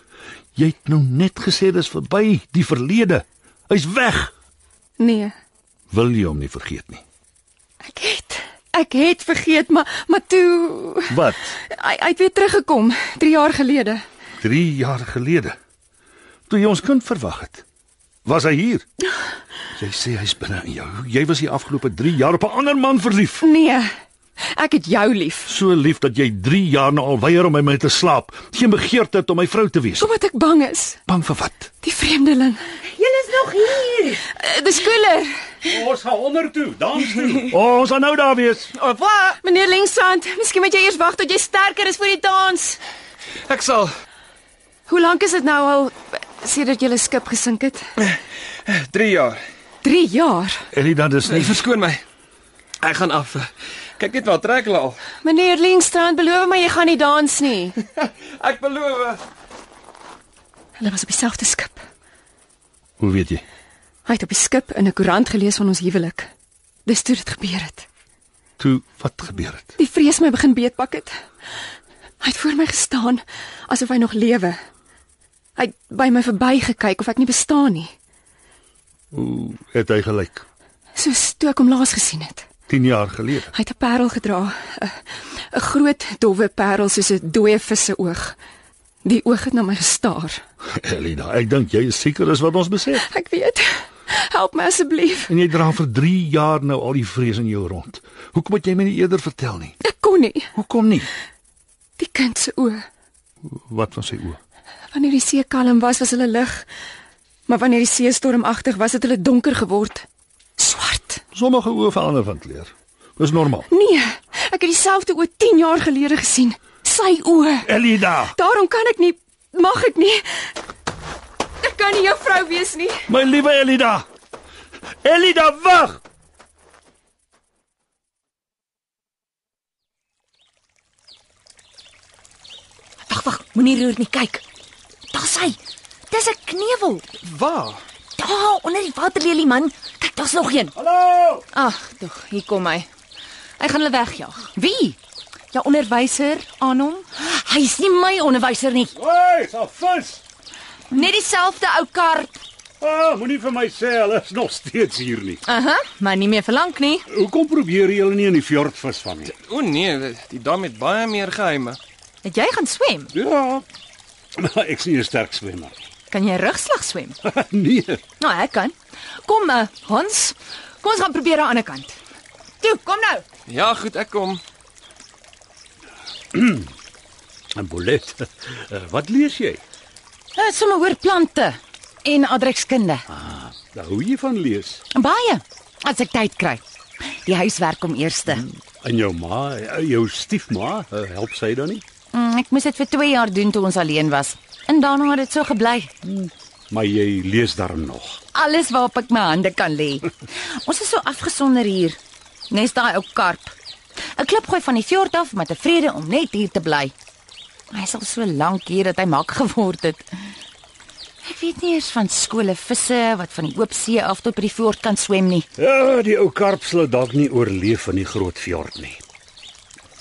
Speaker 6: Jy het nou net gesê dis verby, die verlede. Hy's weg.
Speaker 5: Nee,
Speaker 6: Wil jy hom nie vergeet nie?
Speaker 5: ek het ek het vergeet, maar maar toe
Speaker 6: Wat?
Speaker 5: hy hy het weer teruggekom 3 jaar gelede.
Speaker 6: 3 jaar gelede. Toe jy ons kind verwag het. Was hy
Speaker 5: (laughs)
Speaker 6: hier? Jy sê hy's binne in jou. Jy was die afgelope 3 jaar op 'n ander man verlief.
Speaker 5: Nee. Ek het jou lief.
Speaker 6: So lief dat jy 3 jaar na al weier om by my te slaap. Geen begeerte het om my vrou te wees.
Speaker 5: Omdat ek bang is.
Speaker 6: Bang vir wat?
Speaker 5: Die vreemdeling.
Speaker 2: Julle is nog hier.
Speaker 5: Eh, Dis koeler.
Speaker 7: Ons gaan onder toe, dans toe.
Speaker 5: (laughs)
Speaker 6: O, ons gaan nou daar wees.
Speaker 2: Of wat?
Speaker 5: Oh, Meneer Lengsand, miskien moet jy eers wag tot jy sterker is vir die dans.
Speaker 4: Ek sal
Speaker 5: Hoe lank is dit nou al eh, sedert julle skip gesink het?
Speaker 4: 3 Eh, jaar.
Speaker 5: 3 jaar.
Speaker 6: Ellie, dan is
Speaker 4: Nee,
Speaker 6: nie.
Speaker 4: verskoon my. Ek gaan af. Kyk net wat trek hulle al.
Speaker 5: Meneer Lengstrand, beloof my jy gaan nie dans
Speaker 6: (laughs)
Speaker 5: nie.
Speaker 4: Ek beloof.
Speaker 5: Hulle was op dieselfde skip.
Speaker 6: Hoe weet jy?
Speaker 5: Hy het op die skip in 'n koerant gelees van ons huwelik. Dis toe dit gebeur het.
Speaker 6: Toe wat gebeur het?
Speaker 5: Die vrees my begin beetpak het. Hy het voor my gestaan asof hy nog lewe. Hy het by my verbygekyk of ek nie bestaan nie,
Speaker 6: Hoe het hy gelyk?
Speaker 5: soos toe ek hom laas gesien het.
Speaker 6: 10 jaar gelede.
Speaker 5: Hy het 'n parel gedra, 'n 'n groot dowwe parel soos 'n dooie vis se oog. Die oog het na my gestaar.
Speaker 6: (laughs) Elina, ek dink jy is seker as wat ons besef.
Speaker 5: Ek weet. Help my asseblief.
Speaker 6: En jy dra vir 3 jaar nou al die vrees in jou rond. Hoekom het jy my nie eerder vertel nie?
Speaker 5: Ek kon nie.
Speaker 6: Hoekom nie?
Speaker 5: Die kind se oë.
Speaker 6: Wat van sy oë?
Speaker 5: Wanneer die see kalm was, was hulle lig. Maar wanneer die see stormagtig was, het hulle donker geword. Swart.
Speaker 6: Sommige oë verander van kleur. Dis normaal.
Speaker 5: Nee, ek het dieselfde oë 10 jaar gelede gesien. Sy oë.
Speaker 6: Elida,
Speaker 5: Daarom kan ek nie mag ek nie. Ek kan nie jou vrou wees nie.
Speaker 6: my liewe Elida. Elida, wag.
Speaker 8: Wag, wag, moenie roer nie, kyk. Daar's hy. Dis 'n knewel.
Speaker 4: Waar?
Speaker 8: Daar onder die waterlelie man. Kyk, daar's nog een.
Speaker 6: Hallo!
Speaker 8: Ag, tog, hier kom hy. Hy gaan hulle wegjaag. Wie? Ja, onderwyser aan hom. Hy's nie my onderwyser nie.
Speaker 7: Hey, sa vis.
Speaker 8: Net dieselfde ou kaart.
Speaker 7: Ah, moenie vir my sê hulle is nog steeds hier nie.
Speaker 8: Aha, uh -huh, maar nie meer verlang nie.
Speaker 7: Hoekom probeer jy hulle nie in die fjord vis vang nie?
Speaker 4: O nee, die dam het baie meer geheime.
Speaker 8: Het jy gaan swem?
Speaker 4: Ja.
Speaker 7: (laughs) Maar ek sien 'n sterk swemmer.
Speaker 8: Kan jy rugslag swem?
Speaker 7: nee.
Speaker 8: Nou, ek kan. Kom, uh, Hans. Kom ons gaan probeer aan die ander kant. Toe, kom nou.
Speaker 4: Ja, goed, ek kom.
Speaker 7: (clears throat) 'n Bullet. Eh, Wat lees jy?
Speaker 2: Dit is Eh, sommer oor plante en adrekskunde.
Speaker 7: Nou hou jy van lees?
Speaker 2: Baie as ek tyd kry. Die huiswerk kom eerste.
Speaker 7: En jou ma, eh, jou stiefma, eh, help sy dan nie?
Speaker 2: Mm, Ek moes dit vir 2 jaar doen toe ons alleen was. En daarna het dit so gebly.
Speaker 7: Maar jy lees daarom nog.
Speaker 2: Alles waarop ek my hande kan (laughs) lê. Ons is so afgesonder hier. Nes daai ou karp. 'n Klip gooi van die fjord af met 'n vrede om net hier te bly. Hy is al so lank hier dat hy mak geword het. Ek weet nie eers van skole visse wat van die oop see af tot by die fjord kan swem nie.
Speaker 7: Ja, die ou karp sal het dalk nie oorleef in die groot fjord nie.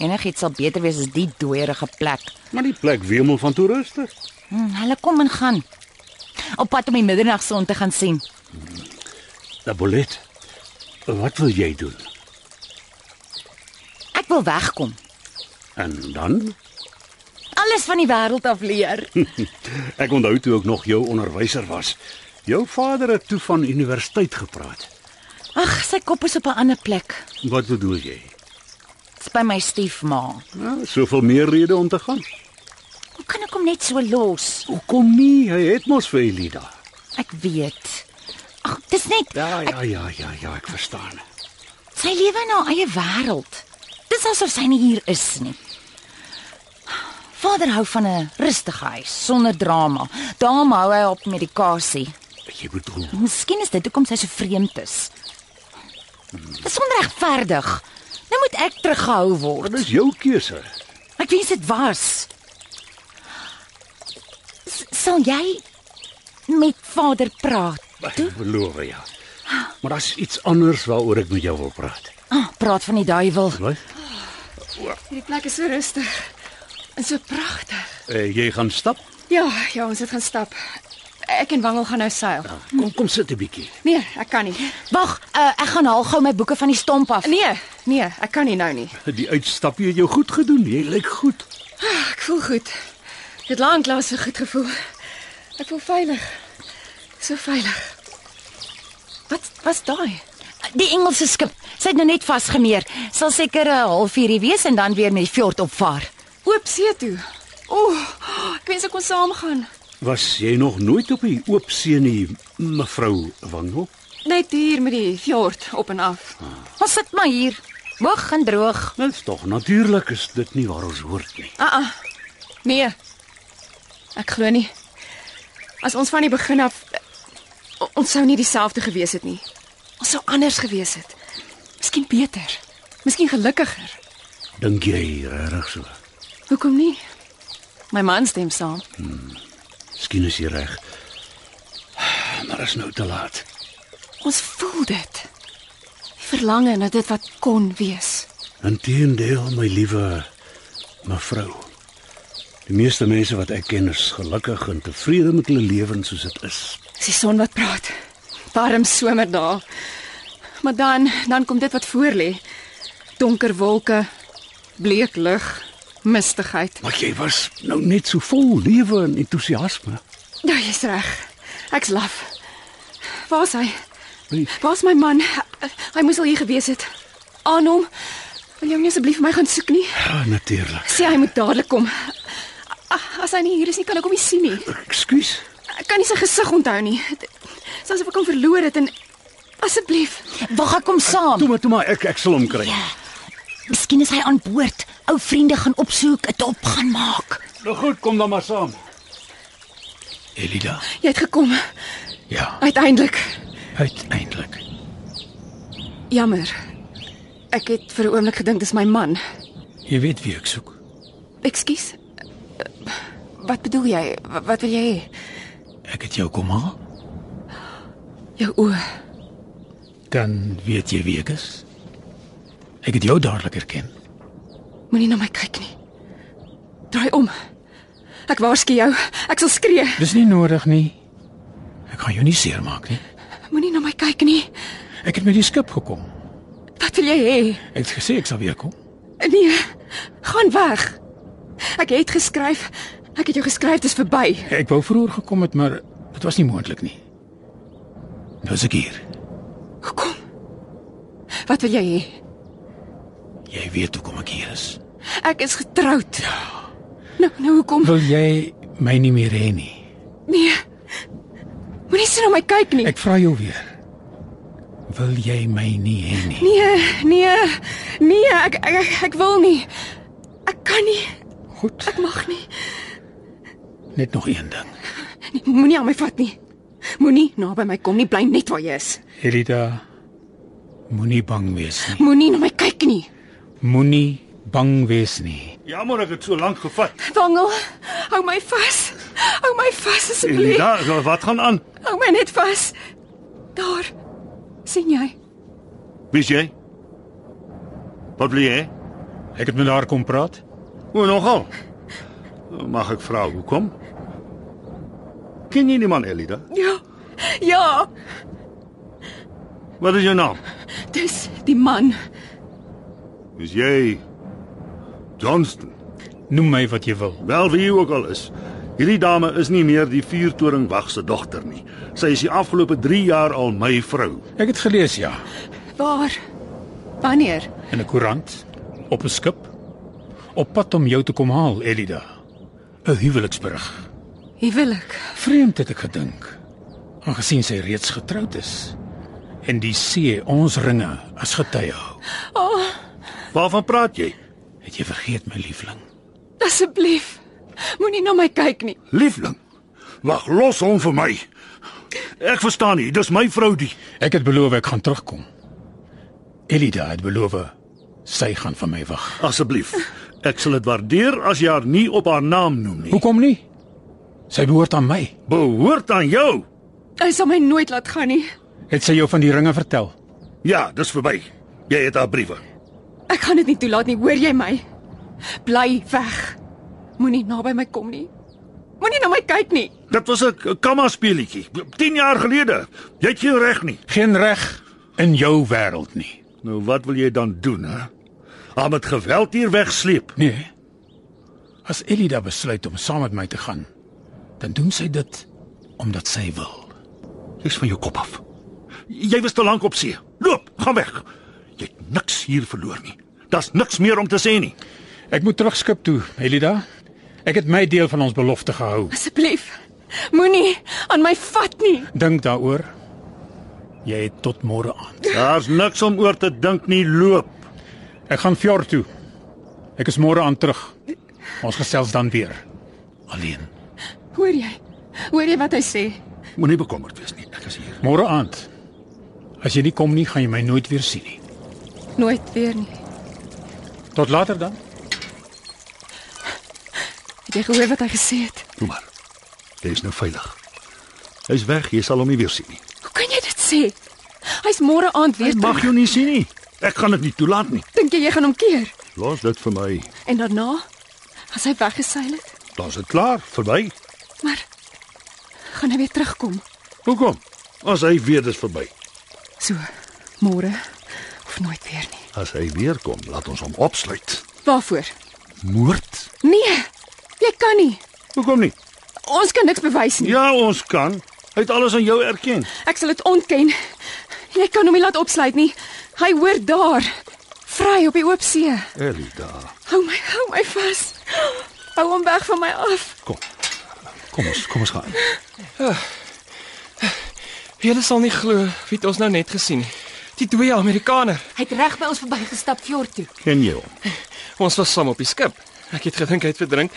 Speaker 2: Enigiets sal beter wees as die dooierige plek.
Speaker 7: Maar die plek wemel van toeriste.
Speaker 2: Hm, hulle kom en gaan. Op pad om die middernagson te gaan sien.
Speaker 7: 'n Bullet. Nou, Wat wil jy doen?
Speaker 2: Ek wil wegkom.
Speaker 7: En dan?
Speaker 2: Alles van die wêreld af leer.
Speaker 7: (laughs) Ek onthou toe ek nog jou onderwyser was. Jou vader het toe van universiteit gepraat.
Speaker 2: Ag, sy kop is op 'n ander plek.
Speaker 7: Wat bedoel jy?
Speaker 2: Dit's by my stiefma.
Speaker 7: Nou, soveel meer rede om te gaan.
Speaker 2: Hoe kan ek hom net so los?
Speaker 7: Hoekom nie? Hy het mos vir Elida.
Speaker 2: Ek weet. Ag, dis net
Speaker 7: Ja, ja, ja, ja, ja, ek verstaan.
Speaker 2: sy lewe in haar eie wêreld. Dis asof sy nie hier is nie. Vader hou van 'n rustige huis sonder drama. Daarom hou hy op medikasie.
Speaker 7: Jy bedoel,
Speaker 2: Miskien is dit hoekom sy so vreemd is. Dis onregverdig. Nou moet ek teruggehou word.
Speaker 7: dit is jou keuse.
Speaker 2: Ek wens dit was. S sal jy met vader praat?
Speaker 7: Ek beloof ja. Maar daar's iets anders waaroor ek met jou wil praat.
Speaker 2: Ah, praat van die duiwel.
Speaker 7: Wat?
Speaker 5: Hierdie plek is so rustig en so pragtig.
Speaker 7: Uh, jy gaan stap?
Speaker 5: Ja, ja, ons het gaan stap. Ek en Wangel gaan nou seil.
Speaker 7: Kom kom sit 'n bietjie.
Speaker 5: Nee, ek kan nie.
Speaker 2: Wag, uh, ek gaan haal gou my boeke van die stomp af.
Speaker 5: Nee, nee, ek kan nie nou nie.
Speaker 7: Die uitstapie het jou goed gedoen. Jy lyk goed.
Speaker 5: Ek voel goed. Ek het lank lank so goed gevoel. Ek voel veilig. So veilig. Wat was daai?
Speaker 2: Die Engelse skip, sy het nou net vasgemeer. Sal seker 'n halfuurie wees en dan weer met die fjord opvaar.
Speaker 5: Oop see toe. Ooh, ek wens ek kon saamgaan.
Speaker 7: Was jy nog nooit op die oop see nie, mevrou Wangel?
Speaker 5: Net hier met die fjord op en af.
Speaker 2: Ons sit maar hier, hoog en droog.
Speaker 7: Dit is tog natuurlik is dit nie waar ons hoort nie.
Speaker 5: Ah ah. Nee. Ek glo nie. As ons van die begin af o- ons sou nie dieselfde gewees het nie. Ons sou anders gewees het. Miskien beter. Miskien gelukkiger.
Speaker 7: Dink jy regtig so?
Speaker 5: Hoekom nie? My man stem saam.
Speaker 7: Miskien is jy reg. Maar is nou te laat.
Speaker 5: Ons voel dit. Die verlange na dit wat kon wees.
Speaker 7: Inteendeel, my liewe mevrou. Die meeste mense wat ek ken is gelukkig en tevrede met hulle lewens soos dit is.
Speaker 5: Dis die son wat praat. Warm somerdae. Maar dan, dan kom dit wat voor lê. Donker wolke, bleek lug, mistigheid.
Speaker 7: Maar jy was nou net so vol lewe en entoesiasme.
Speaker 5: Ja, jy's reg. Ek's laf. Waar's hy?
Speaker 7: Nee.
Speaker 5: Waar's my man? Hy moes al hier gewees het. Aan hom. Wil jy hom nie asseblief vir my gaan soek nie?
Speaker 7: Ja, natuurlik.
Speaker 5: Sê hy moet dadelik kom. A- As hy nie hier is nie, kan ek hom nie sien nie.
Speaker 7: Ekskuus.
Speaker 5: Ek kan nie sy gesig onthou nie. Dit- Dis asof ek hom verloor het en asseblief.
Speaker 2: Wag, ek kom saam.
Speaker 7: Toe maar, toe maar, ek ek sal hom kry.
Speaker 2: Miskien is hy aan boord. Ou vriende gaan opsoek, 'n dop gaan maak.
Speaker 7: Nou goed, kom dan maar saam. Elida.
Speaker 5: Jy het gekom
Speaker 7: Ja,
Speaker 5: uiteindelik.
Speaker 7: uiteindelik.
Speaker 5: Jammer. Ek het vir 'n oomblik gedink dis my man.
Speaker 7: Jy weet wie ek soek.
Speaker 5: Ekskuus. Wat bedoel jy? Wat, wat wil jy hê?
Speaker 7: Ek het jou kom haal.
Speaker 5: Jou oë.
Speaker 7: Dan weet jy wie ek is. Ek het jou dadelik herken.
Speaker 5: Moenie na my kyk nie. Draai om. Ek waarsku jou. Ek sal skree.
Speaker 7: Dis nie nodig nie. Ek gaan jou nie seermaak nie.
Speaker 5: Moenie na my kyk nie.
Speaker 7: Ek het met die skip gekom.
Speaker 5: Wat wil jy hê?
Speaker 7: Ek het gesê ek sal weer kom.
Speaker 5: Nee. Gaan weg. Ek het geskryf. Ek het jou geskryf, dis verby.
Speaker 7: Ek wou vroeër gekom het, maar dit was nie moontlik nie. Nou is ek hier.
Speaker 5: Hoekom? Wat wil jy hê?
Speaker 7: Jy weet hoekom ek hier is.
Speaker 5: Ek is getroud. Nou, nou hoekom?
Speaker 7: Wil jy my nie meer hê nie?
Speaker 5: Nee. Moenie so na my kyk nie.
Speaker 7: Ek vra jou weer. Wil jy my nie hê nie?
Speaker 5: Nee, nee. Nee, ek ek, ek ek wil nie. Ek kan nie.
Speaker 7: Goed,
Speaker 5: Ek mag nie.
Speaker 7: net nog een ding.
Speaker 5: Nee, Moenie aan my vat nie. Moenie naby my kom nie. Bly net waar jy is.
Speaker 7: Elida, moenie bang wees nie.
Speaker 5: Moenie na my kyk nie.
Speaker 7: Moenie bang wees nie.
Speaker 6: Jammer ek het so lank gevat.
Speaker 5: Wangel, hou my vas. Hou my vas asseblief.
Speaker 6: Elida, wat gaan aan?
Speaker 5: Hou my net vas. Daar. sien jy?
Speaker 6: Wie is jy? Wat wil jy? hê?
Speaker 7: Ek het met haar kom praat.
Speaker 6: O, nogal. Mag ek vra hoekom? Ken jy die man Elida?
Speaker 5: Ja. Ja,
Speaker 6: Wat is jou naam?
Speaker 5: dis die man.
Speaker 6: Is jy Johnston?
Speaker 7: Noem my wat jy wil.
Speaker 6: Wel wie jy ook al is. Hierdie dame is nie meer die vuurtoring wag se dogter nie. Sy is die afgelope 3 jaar al my vrou.
Speaker 7: Ek het gelees ja,
Speaker 5: Waar? Wanneer?
Speaker 7: in 'n koerant, op 'n skip, op pad om jou te kom haal, Elida. 'n Huweliksberig.
Speaker 5: Huwelik.
Speaker 7: Vreemd het ek gedink, aangesien sy reeds getroud is en die see ons ringe as getuie hou.
Speaker 5: Ah,
Speaker 6: Waarvan praat jy?
Speaker 7: Het jy vergeet my liefling?
Speaker 5: Asseblief. Moenie na my kyk nie.
Speaker 6: Liefling. Wag, los hom vir my. Ek verstaan nie, dis my vrou die.
Speaker 7: Ek het beloof ek gaan terugkom. Elida het beloof sy gaan van my wag.
Speaker 6: Asseblief. Ek sal dit waardeer as jy haar nie op haar naam noem nie.
Speaker 7: Hoekom nie? Sy behoort aan my.
Speaker 6: Behoort aan jou.
Speaker 5: Hy sal my nooit laat gaan nie.
Speaker 7: Het sy jou van die ringe vertel?
Speaker 6: Ja, dis verby. Jy het haar briewe.
Speaker 5: Ek gaan dit nie toelaat nie, hoor jy my? Bly weg. Moenie naby my kom nie. Moenie na my kyk nie.
Speaker 6: Dit was 'n kamma speelietjie 10 jaar gelede. Jy het geen reg nie.
Speaker 9: Geen reg in jou wêreld nie.
Speaker 6: Nou wat wil jy dan doen, hè? Haar met geweld hier wegsleep.
Speaker 9: Nee. As Elida besluit om saam met my te gaan, dan doen sy dit omdat sy wil.
Speaker 6: Dis van jou kop af. Jy was te lank op see. Loop, gaan weg. Jy het niks hier verloor nie. Daar's niks meer om te sê nie.
Speaker 9: Ek moet terugskip toe, Elida. Ek het my deel van ons belofte gehou.
Speaker 5: Asseblief. Moenie aan my vat nie.
Speaker 9: Dink daaroor. Jy het tot môre aan.
Speaker 6: Daar's niks om oor te dink nie. Loop.
Speaker 9: Ek gaan fjord toe. Ek is môre aan terug. Ons gesels dan weer. Alleen.
Speaker 5: Hoor jy? Hoor jy wat hy sê?
Speaker 6: Moenie bekommerd wees nie. Ek is hier.
Speaker 9: Môre aand. As jy nie kom nie, gaan jy my nooit weer sien nie.
Speaker 5: Nooit weer nie.
Speaker 9: Tot later dan.
Speaker 5: Het jy gehoor wat hy gesê het?
Speaker 6: Kom maar. Jy is nou veilig. Hy's weg. Jy sal hom nie weer sien nie.
Speaker 5: Hoe kan jy dit sê? Hy's môre aand weer
Speaker 6: Ek mag jou nie sien nie. Ek gaan dit nie toelaat nie.
Speaker 5: Dink jy jy gaan hom keer?
Speaker 6: Los dit vir my.
Speaker 5: En daarna as hy weggeseil het,
Speaker 6: Dan's dit klaar, verby.
Speaker 5: maar gaan hy weer terugkom.
Speaker 6: Hoekom? As hy weer dis verby.
Speaker 5: So, môre of nooit weer nie.
Speaker 6: As hy weer kom, laat ons hom opsluit.
Speaker 5: Waarvoor?
Speaker 6: Moord?
Speaker 5: Nee. Jy kan nie.
Speaker 6: Hoekom nie?
Speaker 5: Ons kan niks bewys nie.
Speaker 6: Ja, ons kan. Hy het alles aan jou erken.
Speaker 5: Ek sal dit ontken. Jy kan hom nie laat opsluit nie. Hy hoor daar. Vry op die oop see.
Speaker 6: Elida,
Speaker 5: Hou my, hou my vas. Hou hom weg van my af.
Speaker 6: kom. Kom ons, kom ons gaan.
Speaker 4: Eh, Julle sal nie glo wie het ons nou net gesien het. Die twee Amerikaner.
Speaker 8: Hy het reg by ons verbygestap fjord toe.
Speaker 6: Ken jy hom?
Speaker 4: (laughs) Ons was saam op die skip. Ek het gedink hy het verdrink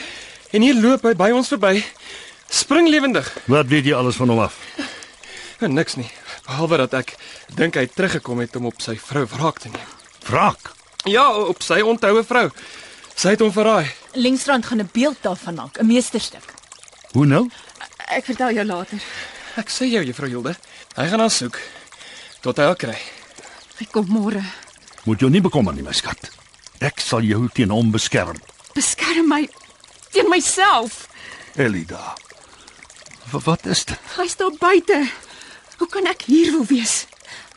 Speaker 4: en hier loop hy by ons verby. Spring lewendig.
Speaker 6: Wat weet jy alles van hom af?
Speaker 4: (laughs) En niks nie, behalwe dat ek dink hy het teruggekom het om op sy vrou wraak te neem.
Speaker 6: Wraak.
Speaker 4: Ja, op sy ontroue vrou. Sy het hom verraai.
Speaker 8: Lengsrand gaan 'n beeld daarvan maak, 'n meesterstuk.
Speaker 6: Hoe nou?
Speaker 5: Ek vertel jou later.
Speaker 4: Ek sê jou juffrou Hilde, hy gaan haar soek tot hy haar kry.
Speaker 5: Hy kom môre.
Speaker 6: Moet jou nie bekommer nie, my skat. Ek sal jou teen hom beskerm.
Speaker 5: Beskerm my teen myself.
Speaker 6: Elida. W wat is dit?
Speaker 5: Hy's daar buite. Hoe kan ek hier wil wees?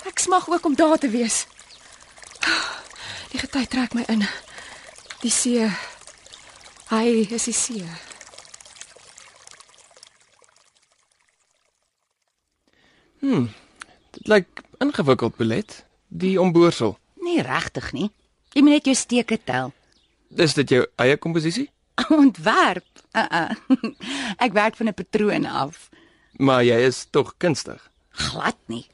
Speaker 5: Ek smag ook om daar te wees. Die gety trek my in. Die see. Hy is die see.
Speaker 4: Hmm, Dit lyk ingewikkeld belet, die omboorsel.
Speaker 2: Nee, regtig nie. Jy moet net jou steke tel. (laughs)
Speaker 4: Is dit jou eie komposisie?
Speaker 2: Ontwerp. Uh -uh. (laughs) Ek werk van 'n patroon af.
Speaker 4: Maar jy is tog kunstig.
Speaker 2: Glad nie.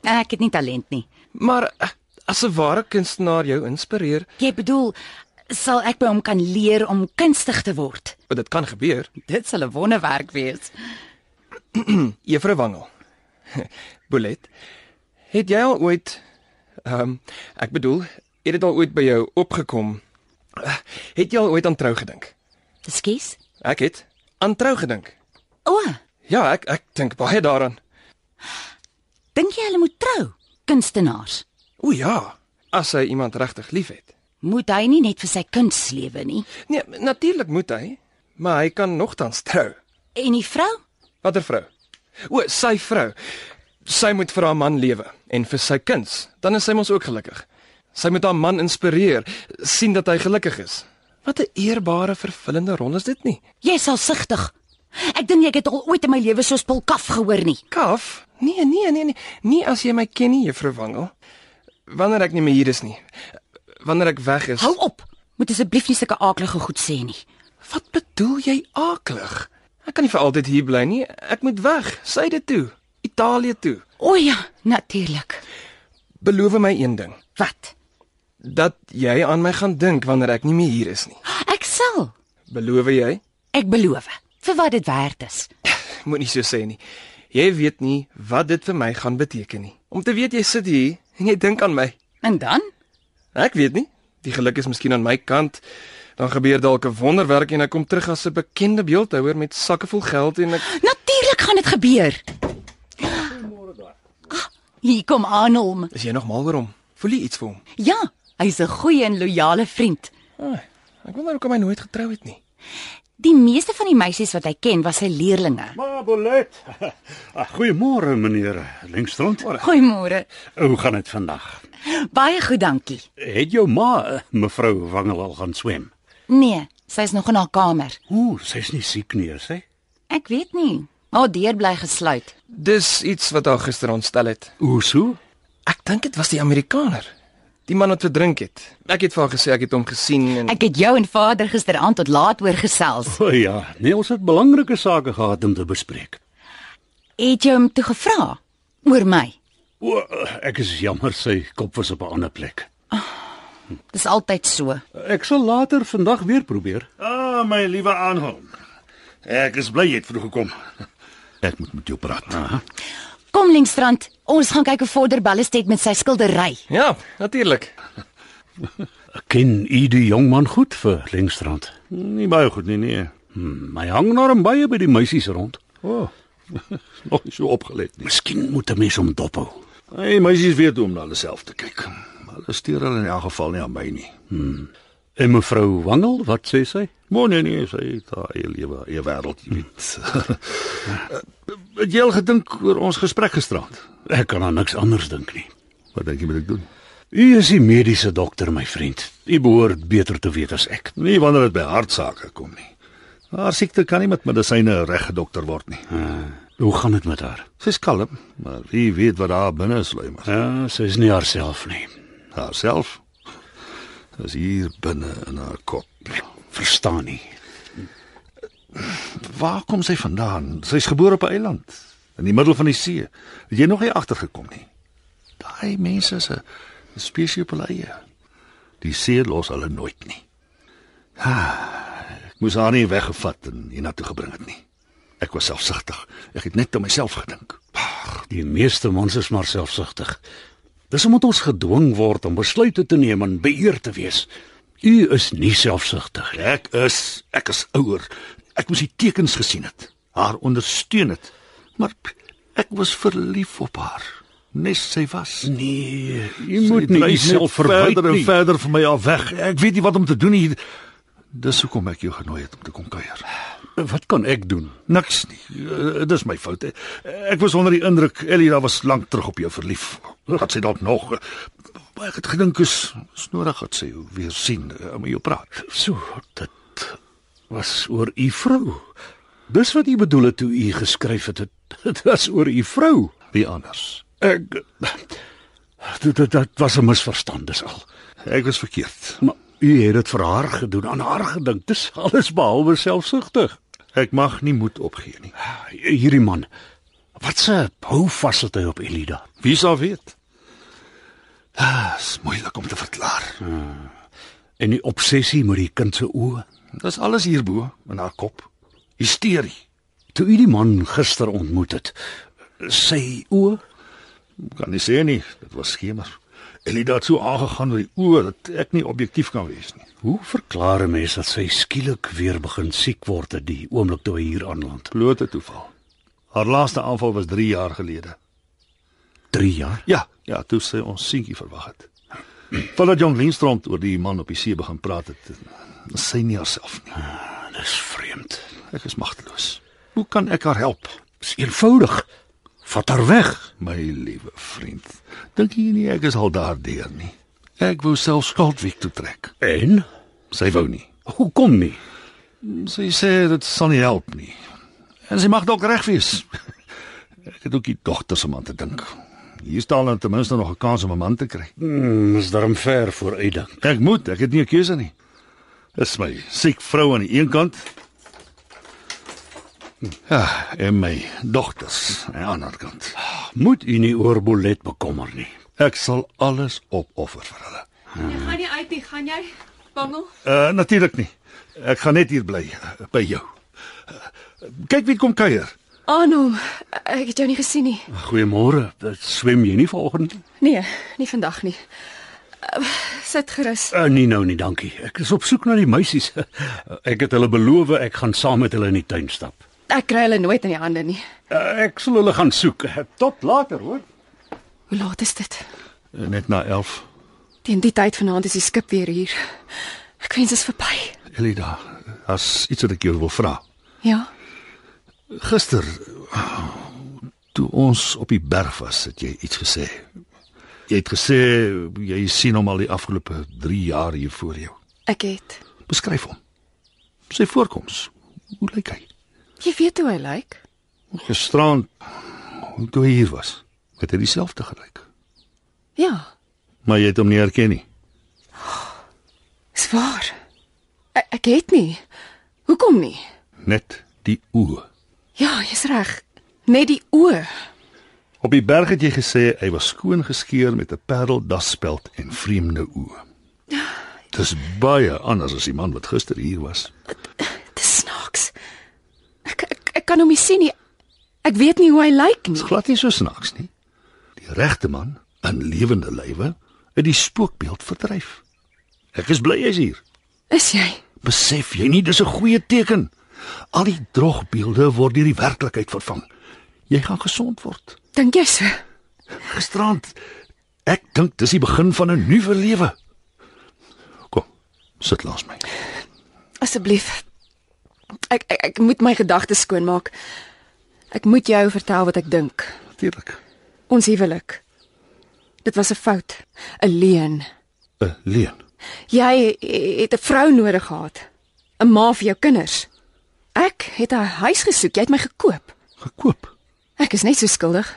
Speaker 2: Eh, Ek het nie talent nie.
Speaker 4: Maar eh, as 'n ware kunstenaar jou inspireer,
Speaker 2: Jy bedoel, sal ek by hom kan leer om kunstig te word?
Speaker 4: want dit kan gebeur, (clears throat)
Speaker 2: Dit sal 'n wonderwerk wees.
Speaker 4: Juffrou Wangel. (laughs) Bolet, het jy al ooit ehm um, ek bedoel, het dit al ooit by jou opgekom? (sighs) Eh, Het jy al ooit aan trou gedink?
Speaker 2: Ekskuus?
Speaker 4: Ek het aan trou gedink.
Speaker 2: O,
Speaker 4: Ja, ek ek dink baie daaraan.
Speaker 2: dink jy hulle moet trou? Kunstenaars.
Speaker 4: O ja, as hy iemand regtig liefhet.
Speaker 2: Moet hy nie net vir sy kuns lewe nie?
Speaker 4: Nee, natuurlik moet hy, maar hy kan nogtans trou.
Speaker 2: En die vrou?
Speaker 4: Watter vrou? O, sy vrou. Sy moet vir haar man lewe en vir sy kinders, dan is sy mos ook gelukkig. Sy moet haar man inspireer, sien dat hy gelukkig is. Wat 'n eerbare vervullende rol is dit nie?
Speaker 2: Jy sal sigtig. Ek dink ek het al ooit in my lewe so spul kaf gehoor nie.
Speaker 4: Kaf? Nee, nee, nee, nee, nie as jy my ken nie, juffrou Wangel. Wanneer ek nie meer hier is nie. Wanneer ek weg is.
Speaker 2: Hou op. Moet asseblief nie sulke aaklige goed sê nie.
Speaker 4: Wat bedoel jy aaklig? Ek kan nie vir altyd hier bly nie. Ek moet weg, syde toe, Italië toe.
Speaker 2: O ja, natuurlik.
Speaker 4: Beloof my een ding,
Speaker 2: Wat?
Speaker 4: dat jy aan my gaan dink wanneer ek nie meer hier is nie.
Speaker 2: Ek sal.
Speaker 4: Beloof jy?
Speaker 2: Ek beloof. Vir wat dit werd is.
Speaker 4: Moenie so sê nie. Jy weet nie wat dit vir my gaan beteken nie. Om te weet jy sit hier en jy dink aan my.
Speaker 2: En dan?
Speaker 4: Ek weet nie. Die geluk is miskien aan my kant. Dan gebeur dalk 'n wonderwerk en ek kom terug as 'n bekende beeldhouer met sakke vol geld en ek
Speaker 10: Nou-
Speaker 2: Natuurlik gaan dit gebeur. Ah, hier kom Arnold.
Speaker 4: is jy nog mal oor hom. Voel jy iets vir hom?
Speaker 2: Ja, hy's 'n goeie en loyale vriend.
Speaker 4: Ah, ek wonder hoekom hy nooit getrou het nie.
Speaker 2: Die meeste van die meisies wat hy ken was sy leerlinge.
Speaker 7: Mabolet. Ah, (laughs) Goeiemôre meneer Lengstrand.
Speaker 2: Goeiemôre.
Speaker 7: Hoe gaan dit vandag?
Speaker 2: Baie goed, dankie.
Speaker 7: Het jou ma eh, mevrou Wangel al gaan swem?
Speaker 2: Nee, sy's nog in haar kamer.
Speaker 7: Ooh, sy's nie siek nie, is sy?
Speaker 2: Ek weet nie. Haar deur bly gesluit.
Speaker 4: Dis iets wat haar gister ontstel het.
Speaker 7: Hoe so?
Speaker 4: Ek dink dit was die Amerikaner. Die man wat verdrink het. Ek het vir haar gesê ek het hom gesien en
Speaker 2: Ek het jou en vader gisteraand tot laat oor gesels.
Speaker 7: O ja, nee, ons het belangrike sake gehad om te bespreek.
Speaker 2: Het jy hom toe gevra oor my?
Speaker 7: O, eh, ek is jammer sy kop was op 'n ander plek.
Speaker 2: Dis altyd so.
Speaker 7: Ek sal later vandag weer probeer.
Speaker 6: Ah, my liewe aanhang. Ek is bly jy het vroeg gekom. Ek moet met jou praat. Aha.
Speaker 2: Kom Linkstrand, ons gaan kyk hoe vorder Ballestet met sy skildery.
Speaker 4: ja, natuurlik.
Speaker 7: (laughs) Ken u die jong man goed vir Lengstrand?
Speaker 6: Nie baie goed nie, nee.
Speaker 7: Hmm, hy hang nou baie by die meisies rond.
Speaker 6: O. (laughs) Oh, nog nie so opgelet nie.
Speaker 7: Miskien moet 'n mens hom dop.
Speaker 6: Hey, meisies weet hoe om na hulle self te kyk. Maar Hulle steur hulle in elk geval nie aan my nie.
Speaker 7: En mevrou Wangel, wat sê sy?
Speaker 6: Maar nee nee, sy het haar eie lewe, eie wêreld, jy
Speaker 7: Hmm.
Speaker 6: (laughs) weet. Eh, Het jy al gedink oor ons gesprek gisteraand?
Speaker 7: Ek kan aan niks anders dink nie.
Speaker 6: Wat dink jy moet ek doen?
Speaker 7: U is die mediese dokter, my vriend. U behoort beter te weet as ek.
Speaker 6: Nie wanneer dit by hartsake kom nie. Haar siekte kan nie met medisyne reggedokter word nie.
Speaker 7: Hoe gaan dit met haar?
Speaker 6: Ah. Sy's kalm, maar wie weet wat daar binne sluimer.
Speaker 7: Ja, sy is nie haarself nie.
Speaker 6: Haarself is hier binne in haar kop.
Speaker 7: Verstaan nie.
Speaker 6: Waar kom sy vandaan? Sy's gebore op 'n eiland in die middel van die see. Het jy nog nie agtergekom nie? Daai mense is 'n spesies op hulle eie. Die see los hulle nooit nie. Ah, ek moes haar nie weggevat en hiernatoe gebring het nie. Ek was selfsugtig. Ek het net aan myself gedink.
Speaker 7: Die meeste mens is maar selfsugtig. Dis omdat ons gedwing word om besluite te neem en beheer te wees. U is nie selfsugtig nie.
Speaker 6: Ek is ek is ouer. Ek moes die tekens gesien het. Haar ondersteun het. Maar ek was verlief op haar. Nes sy was.
Speaker 7: Nee, u
Speaker 6: Sy
Speaker 7: moet nie
Speaker 6: dryf
Speaker 7: u self
Speaker 6: net verwyder
Speaker 7: verwyder
Speaker 6: en
Speaker 7: nie.
Speaker 6: verder van my af weg. Ek weet nie wat om te doen hier. Dis hoekom ek jou genooi het om te kom kuier.
Speaker 7: Wat kan ek doen?
Speaker 6: Niks nie. Eh, Dit is my fout. Eh, Ek was onder die indruk Elida was lank terug op jou verlief. Wat sy dalk nog Maar ek het gedink is, is nodig dat sy jou weer sien eh, om jou praat.
Speaker 7: So, dit was oor u vrou. Dis wat u bedoel het toe u geskryf het. Dit- Dit was oor u vrou.
Speaker 6: Wie anders?
Speaker 7: Ek dit dit, dit was 'n misverstand dis al.
Speaker 6: Ek was verkeerd.
Speaker 7: Maar u het dit vir haar gedoen, aan haar gedink. Dis alles behalwe selfsugtig.
Speaker 6: Ek mag nie moed opgee nie.
Speaker 7: Hierdie man. Wat se hou vas het hy op Elida?
Speaker 6: Wie sal weet? Ah, is moeilik om te verklaar.
Speaker 7: Ah. En die obsessie met die kind se oë.
Speaker 6: Dis alles hierbo in haar kop. Hysterie.
Speaker 7: Toe u die man gister ontmoet het, sy oë
Speaker 6: Kan nie sê nie, dit was skemer. Elida het so aangegaan met die oë dat ek nie objektief kan wees nie.
Speaker 7: Hoe verklaar 'n mens dat sy skielik weer begin siek word het die oomblik toe hy hier aanland?
Speaker 6: Blote toeval. Haar laaste aanval was 3 jaar gelede.
Speaker 7: 3 jaar?
Speaker 6: Ja, ja, toe sy ons seentjie verwag het. Vandat Jong Lindstrom oor die man op die see begin praat het, is sy nie haarself nie.
Speaker 7: Ah, Dis vreemd.
Speaker 6: Ek is magteloos. Hoe kan ek haar help?
Speaker 7: Dis eenvoudig. Vat haar weg.
Speaker 6: My liewe vriend, dink jy nie ek is al daardeur nie? Ek wou self Skaldwijk toe trek.
Speaker 7: En
Speaker 6: Sy wou nie.
Speaker 7: hoekom nie?
Speaker 6: Sy sê dit sal nie help nie. En sy mag dalk reg wees. (laughs) Ek het ook die dogters om aan te dink. Hier staan dan ten minste nog 'n kans om 'n man te kry.
Speaker 7: Hmm, is darm ver vooruitdink.
Speaker 6: Ek moet, ek het nie 'n keuse nie. Dis my siek vrou aan die een kant. Ja, en my dogters aan die ander kant.
Speaker 7: Moet u nie oor Bolet bekommer nie.
Speaker 6: Ek sal alles opoffer vir hulle.
Speaker 5: Jy gaan nie uit nie, gaan jy? Bangel.
Speaker 6: Uh natuurlik nie. Ek gaan net hier bly eh, by jou. Eh, Kyk wie kom kuier.
Speaker 5: Aanhom. Ek het jou nie gesien nie.
Speaker 7: Goeiemôre. Swem jy nie vanoggend nie?
Speaker 5: Nee, nie vandag nie. Uh, Sit gerus.
Speaker 7: Uh, nee nou nie, dankie. Ek is op soek na die meisies. (laughs) Ek het hulle beloof ek gaan saam met hulle in die tuin stap.
Speaker 5: Ek kry hulle nooit in die hande nie.
Speaker 7: Uh, ek sal hulle gaan soek. Eh, Tot later, hoor.
Speaker 5: Hoe laat is dit?
Speaker 4: Eh,
Speaker 6: Net na 11.
Speaker 5: Teen die tyd vanaand is die skip weer hier. Ek wens dit is verby.
Speaker 6: Elida, as iets wat ek jou wil vra.
Speaker 5: Ja.
Speaker 6: Gister toe ons op die berg was, het jy iets gesê. Jy het gesê jy sien hom al die afgelope 3 jaar hier voor jou.
Speaker 5: Ek het.
Speaker 6: Beskryf hom. Sy voorkoms. Hoe lyk hy?
Speaker 5: Jy weet hoe hy lyk.
Speaker 6: Gisterand toe hy hier was, het hy dieselfde gelyk.
Speaker 5: Ja,
Speaker 6: Maar jy het hom nie herken nie.
Speaker 5: is waar. Ek, ek het nie. Hoekom nie?
Speaker 6: Net die oë.
Speaker 5: Ja, jy's reg. Net die oë.
Speaker 6: Op die berg het jy gesê hy was skoon geskeer met 'n pareldaspeld en vreemde oë. Dis baie anders as die man wat gister hier was.
Speaker 5: Dis snaaks. Ek ek, ek kan hom nie sien nie. Ek weet nie hoe hy lyk
Speaker 6: Dis
Speaker 5: nie.
Speaker 6: glad nie so snaaks nie. Die regte man in lewende lywe uit die spookbeeld verdryf. Ek is bly jy's hier.
Speaker 5: Is jy?
Speaker 6: Besef jy nie dis 'n goeie teken? Al die droogbeelde word deur die werklikheid vervang. Jy gaan gesond word.
Speaker 5: Dink jy so?
Speaker 6: Gisterand ek dink dis die begin van 'n nuwe lewe. Kom, sit langs my.
Speaker 5: Asseblief. Ek ek, ek moet my gedagtes skoonmaak. Ek moet jou vertel wat ek dink.
Speaker 6: Natuurlik.
Speaker 5: Ons huwelik. Dit was 'n fout, 'n leuen.
Speaker 6: 'n Eh, Leen.
Speaker 5: Jy eh, het 'n vrou nodig gehad. 'n Ma vir jou kinders. Ek het 'n huis gesoek, jy het my gekoop.
Speaker 6: Gekoop.
Speaker 5: Ek is net so skuldig.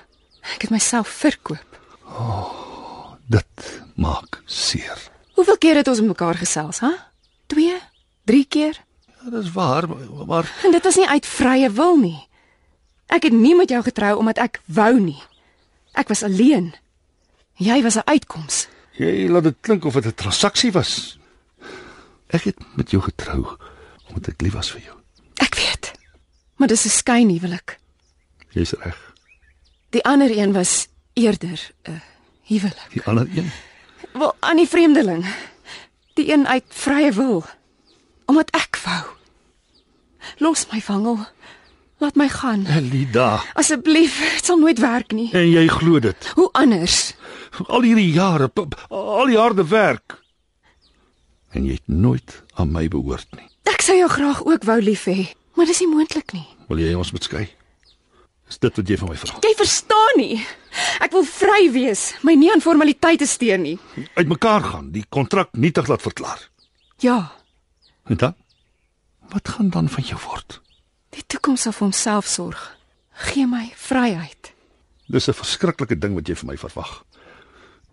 Speaker 5: Ek het myself verkoop.
Speaker 6: Dit maak seer.
Speaker 5: Hoeveel keer het ons met mekaar gesels, hè? 2, 3 keer.
Speaker 6: Ja, dis waar, maar- maar
Speaker 5: En dit was nie uit vrye wil nie. Ek het nie met jou getrou omdat ek wou nie. Ek was alleen. Jy was 'n uitkoms.
Speaker 6: jy laat dit klink of dit 'n transaksie was. Ek het met jou getrou omdat ek lief was vir jou.
Speaker 5: Ek weet. Maar dis 'n skynhuwelik.
Speaker 6: Jy's reg.
Speaker 5: Die ander een was eerder 'n huwelik.
Speaker 6: Die ander een,
Speaker 5: Wel aan die vreemdeling. Die een uit vrye wil. Omdat ek wou. Los my vangel. Laat my gaan.
Speaker 6: Elida,
Speaker 5: Asseblief, dit sal nooit werk nie.
Speaker 6: en jy glo dit.
Speaker 5: Hoe anders?
Speaker 6: Al hierdie jare, p- p- al die harde werk. En jy het nooit aan my behoort nie.
Speaker 5: Ek sou jou graag ook wou lief hê, maar dis nie moontlik nie.
Speaker 6: Wil jy ons moet skei? Is dit wat jy van my vra?
Speaker 5: Jy verstaan nie. Ek wil vry wees, my nie aan formaliteite steur nie.
Speaker 6: Uitmekaar gaan, die kontrak nietig laat verklaar.
Speaker 5: Ja,
Speaker 6: En dan? Wat gaan dan van jou word?
Speaker 5: die toekoms sal vir homself sorg. Gee my vryheid.
Speaker 6: Dis 'n verskriklike ding wat jy van my verwag.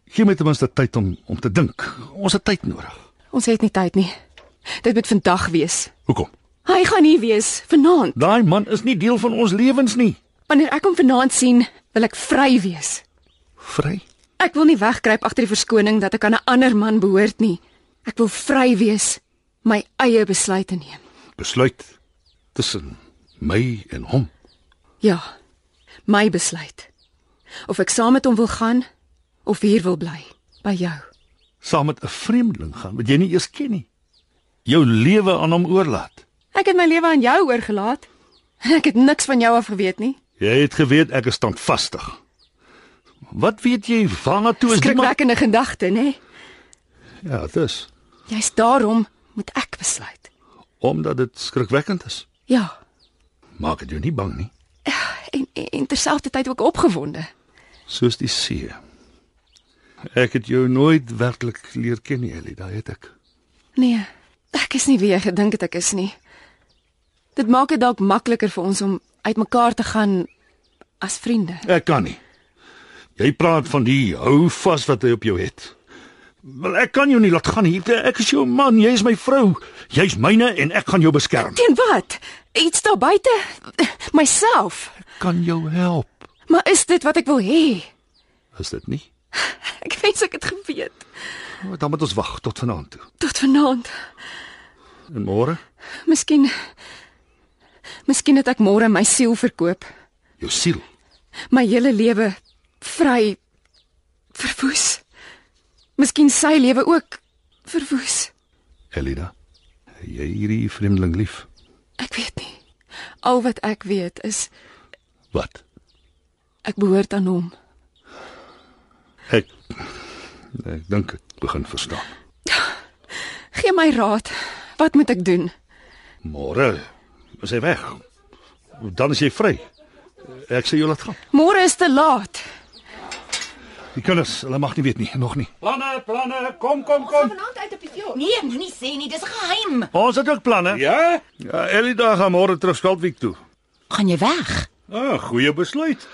Speaker 6: Gee my ten minste tyd om om te dink. Ons het tyd nodig.
Speaker 5: Ons het nie tyd nie. Dit moet vandag wees.
Speaker 6: Hoekom?
Speaker 5: Hy gaan nie wees vanaand
Speaker 6: Daai man is nie deel van ons lewens nie.
Speaker 5: Wanneer ek hom vanaand sien, wil ek vry wees.
Speaker 6: Vry?
Speaker 5: Ek wil nie wegkruip agter die verskoning dat ek aan 'n ander man behoort nie. Ek wil vry wees, my eie besluite neem.
Speaker 6: Besluit tussen my en hom.
Speaker 5: Ja, my besluit. Of ek saam met hom wil gaan of hier wil bly, by jou.
Speaker 6: Saam met 'n vreemdeling gaan wat jy nie eers ken nie. Jou lewe aan hom oorlaat.
Speaker 5: Ek het my lewe aan jou oorgelaat. Ek het niks van jou af geweet nie.
Speaker 6: Jy het geweet ek is standvastig. Wat weet jy waarna toe is die man?
Speaker 5: Skrikwekkende gedagte, nê?
Speaker 6: Ja, dis
Speaker 5: Jy's daarom moet ek besluit.
Speaker 6: omdat dit skrikwekkend is.
Speaker 5: Ja,
Speaker 6: Maak dit jou nie bang nie,
Speaker 5: en en, en terselfdertyd ook opgewonde.
Speaker 6: soos die see. Ek het jou nooit werklik leer ken nie, Elida, het ek.
Speaker 5: Nee, ek is nie wie jy gedink het ek is nie. Dit maak dit dalk makliker vir ons om uitmekaar te gaan as vriende.
Speaker 6: Ek kan nie. Jy praat van die hou vas wat hy op jou het. Wel ek kan jou nie laat gaan nie. Ek is jou man, jy is my vrou. Jy's myne en ek gaan jou beskerm.
Speaker 5: Teen wat? Iets daar buite? Myself.
Speaker 6: Kan jou help.
Speaker 5: Maar is dit wat ek wil hê?
Speaker 6: Is dit nie?
Speaker 5: Ek wens ek het geweet.
Speaker 6: O, Dan moet ons wag tot vanaand toe.
Speaker 5: Tot vanaand.
Speaker 6: En môre?
Speaker 5: Miskien Miskien het ek môre my siel verkoop,
Speaker 6: Jou siel.
Speaker 5: my hele lewe vry verwoes. Miskien sy lewe ook verwoes.
Speaker 6: Elida. Jy hierdie vreemdeling lief.
Speaker 5: Ek weet nie. Al wat ek weet is
Speaker 6: Wat?
Speaker 5: Ek behoort aan hom.
Speaker 6: Ek ek dink ek begin verstaan.
Speaker 5: Gee gee my raad. Wat moet ek doen?
Speaker 6: Môre is hy weg. Dan is jy vry. Ek sê jy laat gaan.
Speaker 5: Môre is te laat.
Speaker 6: Die kinders, hulle mag nie weet nie, nog nie.
Speaker 7: Planne, planne, kom kom kom.
Speaker 2: Vanaand uit op die fjord. Nee, moenie sê nie, dis 'n geheim.
Speaker 6: Ons het ook planne.
Speaker 7: Ja?
Speaker 6: Ja, Elida gaan môre terug Skalkwyk toe.
Speaker 2: Gaan jy weg?
Speaker 7: Ah, goeie besluit.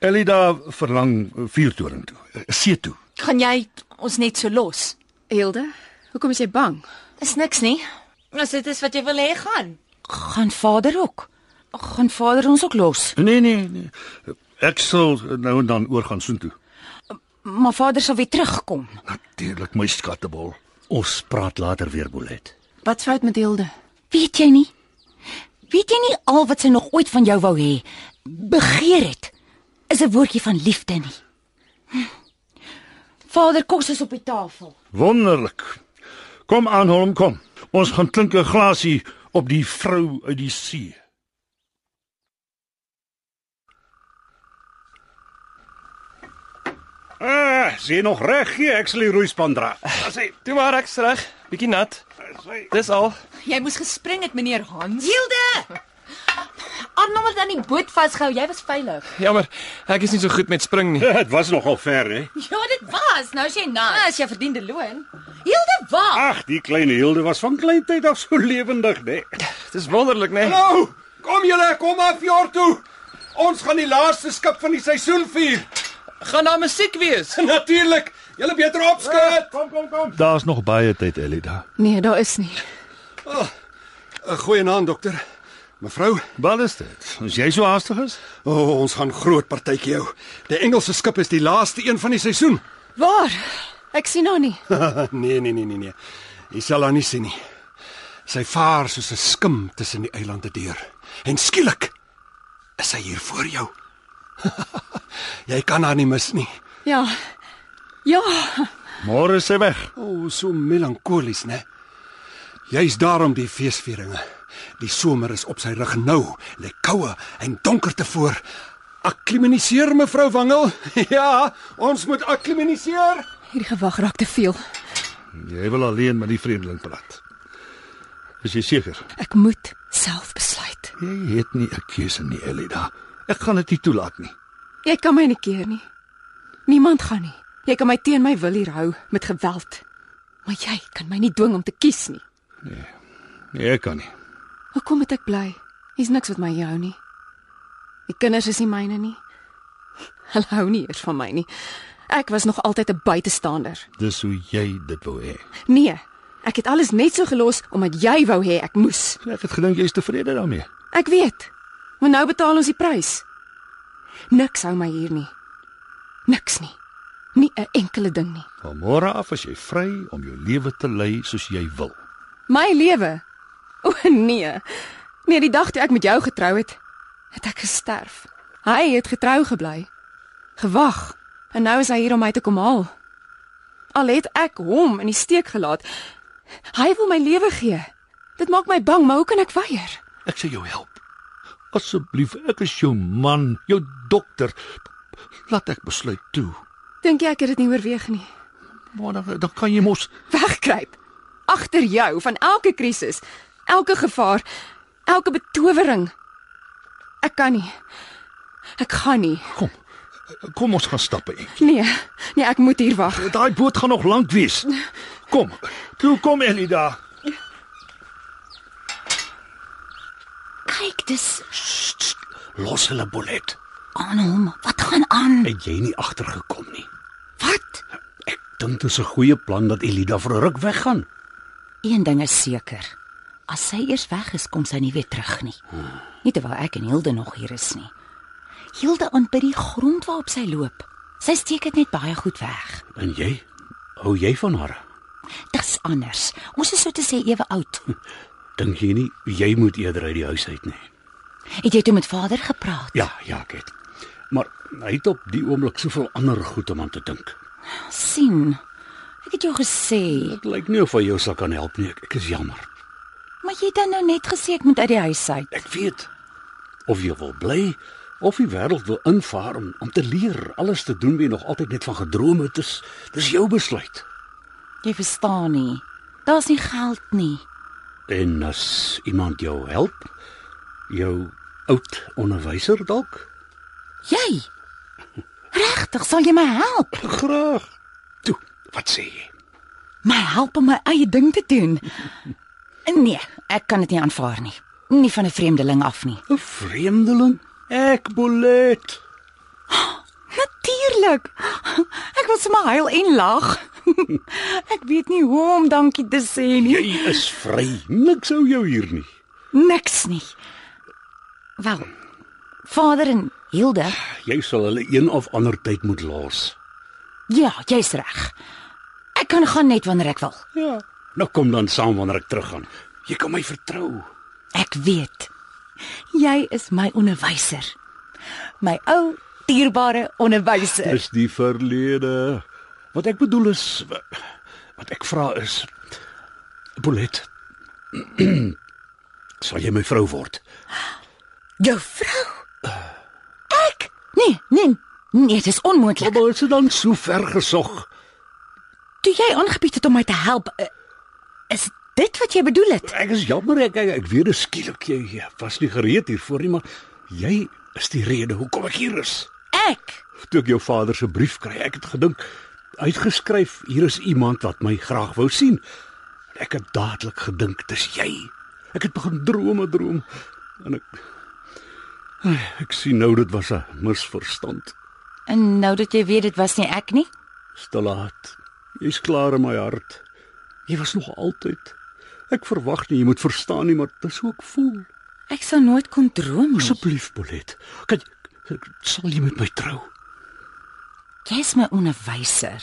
Speaker 6: Elida verlang vuurtoring toe, eh, see toe.
Speaker 8: Gaan jy ons net so los?
Speaker 5: Hilde, hoekom is jy bang?
Speaker 8: Is niks nie.
Speaker 10: As dit is wat jy wil hê gaan.
Speaker 2: Gaan vader ook? Gaan vader ons ook los?
Speaker 6: Nee nee nee. Ek sal nou en dan oor gaan soen toe.
Speaker 2: Maar vader sal weer terugkom.
Speaker 6: Natuurlik my skattebol.
Speaker 7: Ons praat later weer, Bolet.
Speaker 5: Wat fout met Hilde?
Speaker 2: Weet jy nie? Weet jy nie al wat sy nog ooit van jou wou hê, begeer het, is 'n woordjie van liefde nie. Hm. Vader kos is op die tafel.
Speaker 6: Wonderlik. Kom aan hom, kom. Ons gaan klink 'n glasie op die vrou uit die see.
Speaker 7: Ah, sien nog reg gee, ek sal die roeispan dra.
Speaker 4: Sê, toe maar ek's reg, bietjie nat. Dis al.
Speaker 8: Jy moes gespring het, meneer Hans.
Speaker 10: Hilde!
Speaker 8: Arnold het (laughs) aan die boot vasgehou. Jy was
Speaker 4: (laughs)
Speaker 8: veilig.
Speaker 4: Jammer, ek is nie so goed met spring nie.
Speaker 7: (laughs) Dit was nogal ver, hè?
Speaker 8: Ja, dit was. Nou is jy nat.
Speaker 2: Ah,
Speaker 10: As jy verdiende loon.
Speaker 8: Hilde, wag.
Speaker 7: Ag, die klein Hilde was van kleintyd af so lewendig, né?
Speaker 4: Dis wonderlik, né? Nee?
Speaker 3: Nou, kom julle, kom af fjord toe. Ons gaan die laaste skip van die seisoen vier.
Speaker 4: Gaan daar musiek wees.
Speaker 3: (laughs) Natuurlik. Julle beter opskud.
Speaker 7: Kom kom kom.
Speaker 6: Daar's nog baie tyd, Elida.
Speaker 5: Nee, daar is nie.
Speaker 3: Eh, Goeienaand dokter. Mevrou,
Speaker 6: Wat is dit? As jy so haastig is?
Speaker 3: oh, ons gaan groot partytjie hou. Die Engelse skip is die laaste een van die seisoen. (laughs)
Speaker 5: Waar? Ek sien haar nie.
Speaker 3: nee, nee, nee, nee, nee. Jy sal haar nie sien nie. Sy vaar soos 'n skim tussen die eilande deur. En skielik is sy hier voor jou. (laughs) jy kan haar nie mis nie.
Speaker 5: Ja. Ja,
Speaker 6: Môre is sy weg.
Speaker 3: O, oh, so melankolies, né? Juis daarom die feesvieringe. Die somer is op sy rug nou, lê koue en donker tevore. Akklimatiseer mevrou Wangel. (laughs) ja, ons moet akklimatiseer.
Speaker 5: hierdie gewag raak te veel.
Speaker 6: Jy wil alleen met die vreemdeling praat. Is jy seker?
Speaker 5: Ek moet self besluit.
Speaker 6: Jy het nie 'n keuse nie, Elida. Ek gaan dit nie toelaat nie.
Speaker 5: Jy kan my nie keer nie. Niemand gaan nie. Jy kan my teen my wil hier hou met geweld. Maar jy kan my nie dwing om te kies nie.
Speaker 6: Nee, ek kan nie.
Speaker 5: Hoekom moet ek bly? Hier's niks wat my hier hou nie. Die kinders is nie myne nie. Hulle hou nie eers van my nie. Ek was nog altyd 'n buitestander.
Speaker 6: Dis hoe jy dit wou hê.
Speaker 5: Nee, ek het alles net so gelos omdat jy wou hê ek moes.
Speaker 6: Ek het gedink jy's tevrede daarmee.
Speaker 5: Ek weet. Maar nou betaal ons die prys. Niks hou my hier nie. Niks nie. Nie 'n enkele ding nie.
Speaker 6: Van môre af is jy vry om jou lewe te lei soos jy wil.
Speaker 5: My lewe. O nee. Nee, die dag toe ek met jou getrou het, het ek gesterf. Hy het getrou gebly. Gewag. En nou is hy hier om my te kom haal. Al het ek hom in die steek gelaat. Hy wil my lewe gee. Dit maak my bang, maar hoe kan ek weier?
Speaker 6: Ek sal jou help. Asseblief, ek is jou man, jou dokter. Laat ek besluit toe.
Speaker 5: Dink jy ek het dit nie oorweeg nie?
Speaker 6: Maar dan, dan kan jy mos
Speaker 5: wegkruip agter jou van elke krisis, elke gevaar, elke betowering. Ek kan nie. Ek gaan nie.
Speaker 6: kom. Kom ons gaan stappe in.
Speaker 5: Nee. Nee, ek moet hier wag.
Speaker 6: Daai boot gaan nog lank wees. Kom. Toe kom Elida.
Speaker 2: Kyk, dis
Speaker 7: Los hulle Bolet.
Speaker 2: aan hom. Wat gaan aan?
Speaker 7: Het jy nie agtergekom nie?
Speaker 2: Wat?
Speaker 7: Ek dink dit is 'n goeie plan dat Elida vir 'n ruk weggaan.
Speaker 2: Een ding is seker. As sy eers weg is, kom sy nie weer terug nie. Nie terwyl ek en Hilde nog hier is nie. Hilde ontbid die grond waarop sy loop. Sy steek dit net baie goed weg.
Speaker 7: En jy? Hou jy van haar?
Speaker 2: Dis anders. Ons is so te sê ewe oud.
Speaker 7: Dink jy nie jy moet eerder uit die huis uit nie?
Speaker 2: Het jy toe met vader gepraat?
Speaker 7: Ja, ja, ek het. Maar hy het op die oomblik soveel ander goed om aan te dink.
Speaker 2: sien. Ek het jou gesê,
Speaker 7: Dit lyk nie of hy jou sal kan help nie. Ek, ek is jammer.
Speaker 2: maar jy het dan nou net gesê ek moet uit die huis uit.
Speaker 7: Ek weet. Of jy wil bly of die wêreld wil invaar om om te leer, alles te doen wat jy nog altyd net van gedroom het, dis dis jou besluit.
Speaker 2: Jy verstaan nie.
Speaker 8: Daar's nie geld nie.
Speaker 7: En as iemand jou help, jou oud onderwyser dalk?
Speaker 2: (laughs)
Speaker 8: Jy. Regtig, sal jy my help?
Speaker 7: Graag. Toe, wat sê jy?
Speaker 2: My help om my eie ding te doen. (laughs) Nee, ek kan dit nie aanvaar nie. Nie van 'n vreemdeling af nie.
Speaker 7: 'n Vreemdeling? Ek
Speaker 2: (gasps)
Speaker 7: bolet.
Speaker 2: Natuurlik. (gasps) Ek wil sommer huil en lag. (laughs) Ek weet nie hoe om dankie te sê nie.
Speaker 7: Jy is vry. Niks hou jou hier nie.
Speaker 2: Niks nie. Wel. Vader en Hilde.
Speaker 7: Jy sal hulle een of ander tyd moet los.
Speaker 2: Ja, jy's reg. Ek kan gaan net wanneer ek wil.
Speaker 7: Ja. Nou kom dan saam wanneer ek teruggaan. Jy kan my vertrou.
Speaker 2: Ek weet. Jy is my onderwyser. My ou dierbare onderwyser.
Speaker 7: Dis die verlede. Wat ek bedoel is wat ek vra is Bullet. (clears throat) sal jy my vrou word?
Speaker 2: Jou vrou. Ek? Nee, nee. Nee, dit is onmoontlik.
Speaker 7: Maar is dit dan so ver gesog?
Speaker 2: Toe jy aangebied het om my te help, eh, is dit wat jy bedoel het?
Speaker 7: Ek is jammer ek ek, ek weet skielik jy jy was nie gereed hiervoor nie, maar jy is die rede hoekom ek hier is.
Speaker 2: Ek.
Speaker 7: Toe ek jou vader se brief kry, ek het gedink uitgeskryf hier is iemand wat my graag wou sien. En Ek het dadelik gedink dis jy. Ek het begin drome droom en ek Ai, ek sien nou dit was 'n misverstand.
Speaker 2: En nou dat jy weet dit was nie ek nie.
Speaker 7: Stalaat. Jy's klaar in my hart. Jy was nog altyd. Ek verwag nie jy moet verstaan nie, maar dis hoe ek voel.
Speaker 2: Ek sou nooit kon droom nie.
Speaker 7: Asseblief, Bolet. Kan sal jy met my trou?
Speaker 2: Jy is my onderwyser.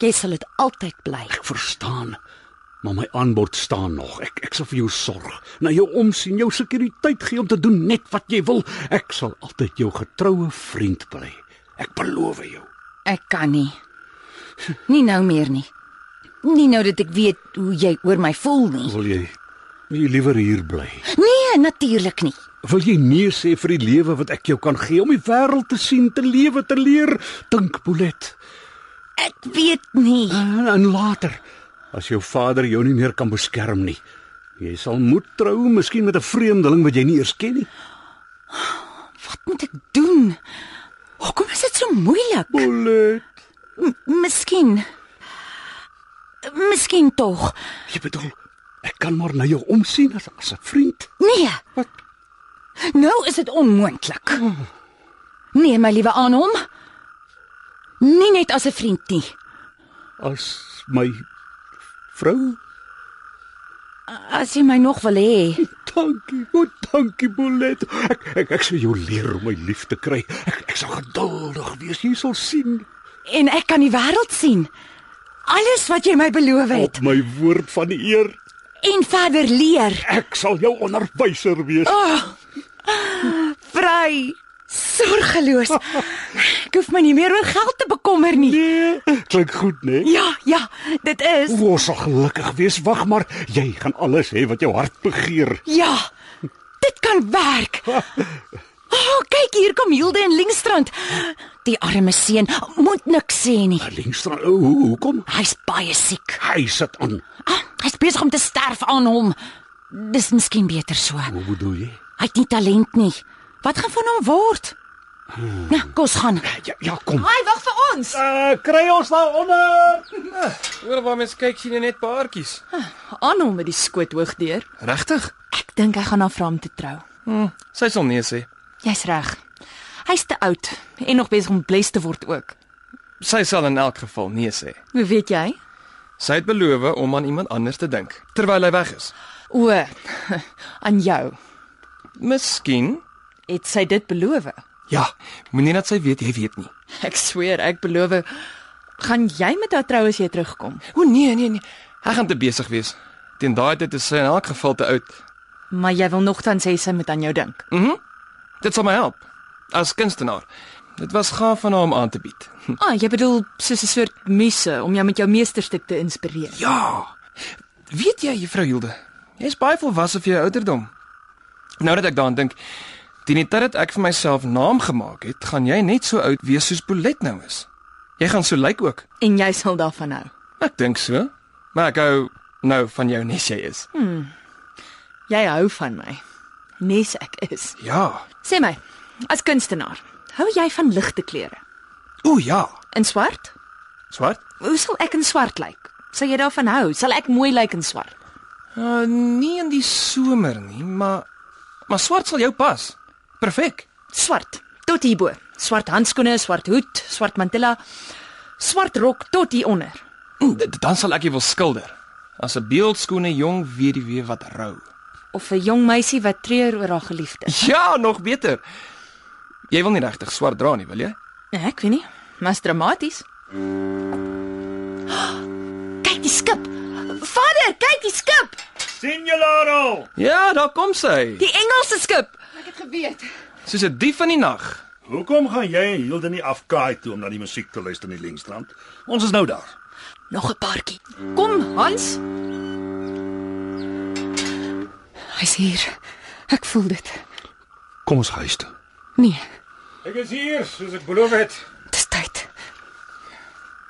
Speaker 2: Jy sal dit altyd bly.
Speaker 7: Ek verstaan. Maar my aanbod staan nog. Ek ek sal vir jou sorg. Na jou omsien, jou sekuriteit gee om te doen net wat jy wil. Ek sal altyd jou getroue vriend bly. Ek beloof jou.
Speaker 2: Ek kan nie. Nie nou meer nie. Nie nou dat ek weet hoe jy oor my voel nie.
Speaker 7: Wil jy wil jy liewer hier bly?
Speaker 2: Nee, natuurlik nie.
Speaker 7: Wil jy nee sê vir die lewe wat ek jou kan gee om die wêreld te sien, te lewe, te leer? Dink, Bolet.
Speaker 2: Ek weet nie.
Speaker 7: En, en later, as jou vader jou nie meer kan beskerm nie, jy sal moet trou, miskien met 'n vreemdeling wat jy nie eers ken nie.
Speaker 2: Wat moet ek doen? Hoekom is dit so moeilik?
Speaker 7: Bolet.
Speaker 2: M miskien. Miskien tog.
Speaker 7: Jy bedoel, ek kan maar na jou omsien as as 'n vriend.
Speaker 2: Nee. Wat? Nou is dit onmoontlik. Nee, my liewe Anom. Nie net as 'n vriend nie.
Speaker 7: As my vrou.
Speaker 2: As jy my nog wil hê.
Speaker 7: Dankie, o, dankie Bolet. Ek ek, ek sal jou leer om my lief te kry. Ek ek sal geduldig wees. Jy sal sien.
Speaker 2: En ek kan die wêreld sien. Alles wat jy my beloof het
Speaker 7: Op my woord van eer, Oh.
Speaker 2: en verder leer.
Speaker 7: ek sal jou onderwyser wees. Oh.
Speaker 2: Ah. Oh. Vry,
Speaker 7: (laughs)
Speaker 2: sorgeloos. Ek hoef my nie meer oor geld te bekommer nie.
Speaker 7: Nee, klink goed, né? Nee?
Speaker 2: Ja, ja, dit is.
Speaker 7: Ons sal gelukkig wees. Wag maar, jy gaan alles hê wat jou hart begeer.
Speaker 2: Ja. Dit
Speaker 7: (laughs)
Speaker 2: kan werk. O, oh, kyk hier kom Hilde en Lingstrand. Die arme seun moet niks sê nie.
Speaker 7: Linkstrand, o, ho- hoekom?
Speaker 2: Hy's baie siek.
Speaker 7: Hy sit aan.
Speaker 2: Ah, hy's besig om te sterf aan hom. Dis miskien beter so.
Speaker 7: Hoe bedoel jy?
Speaker 2: Hy het nie talent nie. Wat gaan van hom word? Nou, kom ons gaan.
Speaker 7: Hmm. Ja, ja kom.
Speaker 10: Ai, wag vir ons.
Speaker 7: Uh, kry ons nou onder.
Speaker 4: Oor Ah, waar mens kyk sien jy net paartjies.
Speaker 10: Ah, Aan hom met die skoot hoog deur.
Speaker 4: Regtig?
Speaker 8: Ek dink hy gaan na vra om te trou.
Speaker 4: Sy sal nee sê.
Speaker 8: Jy's reg. Hy's te oud en nog besig om bles te word ook.
Speaker 4: Sy sal in elk geval nee sê.
Speaker 8: Hoe weet jy?
Speaker 4: Sy het beloof om aan iemand anders te dink terwyl hy weg is.
Speaker 10: O,
Speaker 8: (laughs)
Speaker 10: aan jou.
Speaker 4: Miskien.
Speaker 10: Het sy dit beloof?
Speaker 4: Ja, moenie dat sy weet jy weet nie.
Speaker 10: (laughs) Ek sweer, ek beloof. Gaan jy met haar trou as jy terugkom?
Speaker 4: O nee, nee, nee. Hy gaan te besig wees. Teen daai tyd is sy in elk geval te oud. Mhm.
Speaker 10: Maar jy wil nogtans sê sy moet aan jou dink.
Speaker 4: Dit sal my help as kunstenaar. Dit was gaaf van haar om aan te bied.
Speaker 10: Ah, jy bedoel soos 'n soort messe om jou met jou meesterstuk te inspireer.
Speaker 4: Ja. Weet jy, juffrou Hilde, jy's baie volwasse vir jou ouderdom. Nou dat ek daaraan dink, teen die tyd dat ek vir myself naam gemaak het, gaan jy net so oud wees soos Bolet nou is. Jy gaan so lyk ook.
Speaker 10: En jy sal daarvan hou.
Speaker 4: Ek dink so. Maar ek hou nou van jou nes jy is.
Speaker 10: Hmm. Jy hou van my. Nes ek is.
Speaker 4: Ja.
Speaker 10: Sê my, as kunstenaar, hou jy van ligte kleure?
Speaker 4: O ja.
Speaker 10: In swart?
Speaker 4: Swart?
Speaker 10: Hoe sal ek in swart lyk? Sal jy daarvan hou? Sal ek mooi lyk in swart?
Speaker 4: Uh, nie in die somer nie, maar maar swart sal jou pas. Perfek.
Speaker 10: Swart tot hierbo. Swart handskoene, swart hoed, swart mantilla, swart rok tot hieronder.
Speaker 4: Mm, d- Dan sal ek jou wil skilder. As 'n beeldskoene jong weduwee wat rou.
Speaker 10: Of 'n jong meisie wat treur oor haar geliefde.
Speaker 4: Ja, nog beter. Jy wil nie regtig swart dra nie, wil jy?
Speaker 10: Nee, Ek weet nie, maar's dramaties. Kyk die skip. Vader, kyk die skip.
Speaker 6: Signoraro.
Speaker 4: Ja, daar kom sy.
Speaker 10: Die Engelse skip.
Speaker 4: Soos 'n dief in die nag.
Speaker 6: Hoekom gaan jy en Hilde nie afkaai toe om na die musiek te luister in die Lengstrand? Ons is nou daar.
Speaker 10: Nog 'n paartjie. Kom, Hans.
Speaker 5: Hy's hier. Ek voel dit.
Speaker 6: Kom ons huis toe.
Speaker 5: Nee,
Speaker 9: Ek is hier, soos ek beloof het.
Speaker 5: dis tyd.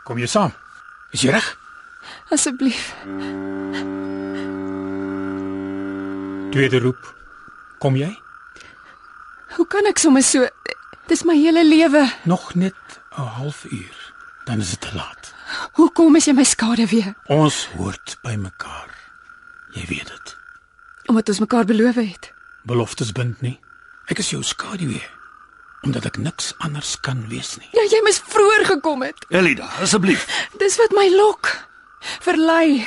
Speaker 9: Kom jy saam? Is jy reg?
Speaker 5: Asseblief.
Speaker 9: Tweede roep. Kom jy?
Speaker 5: Hoe kan ek sommer so Dis my hele lewe.
Speaker 9: Nog net 'n halfuur, dan is dit te laat.
Speaker 5: Hoekom is jy my skade weer?
Speaker 9: Ons hoort by mekaar. Jy weet dit.
Speaker 5: Omdat ons mekaar beloof het.
Speaker 9: Beloftes bind nie. Ek is jou skaduwee omdat ek niks anders kan wees nie.
Speaker 5: Ja, jy moes vroeër gekom het.
Speaker 6: Elida, asseblief.
Speaker 5: Dis wat my lok. Verlei.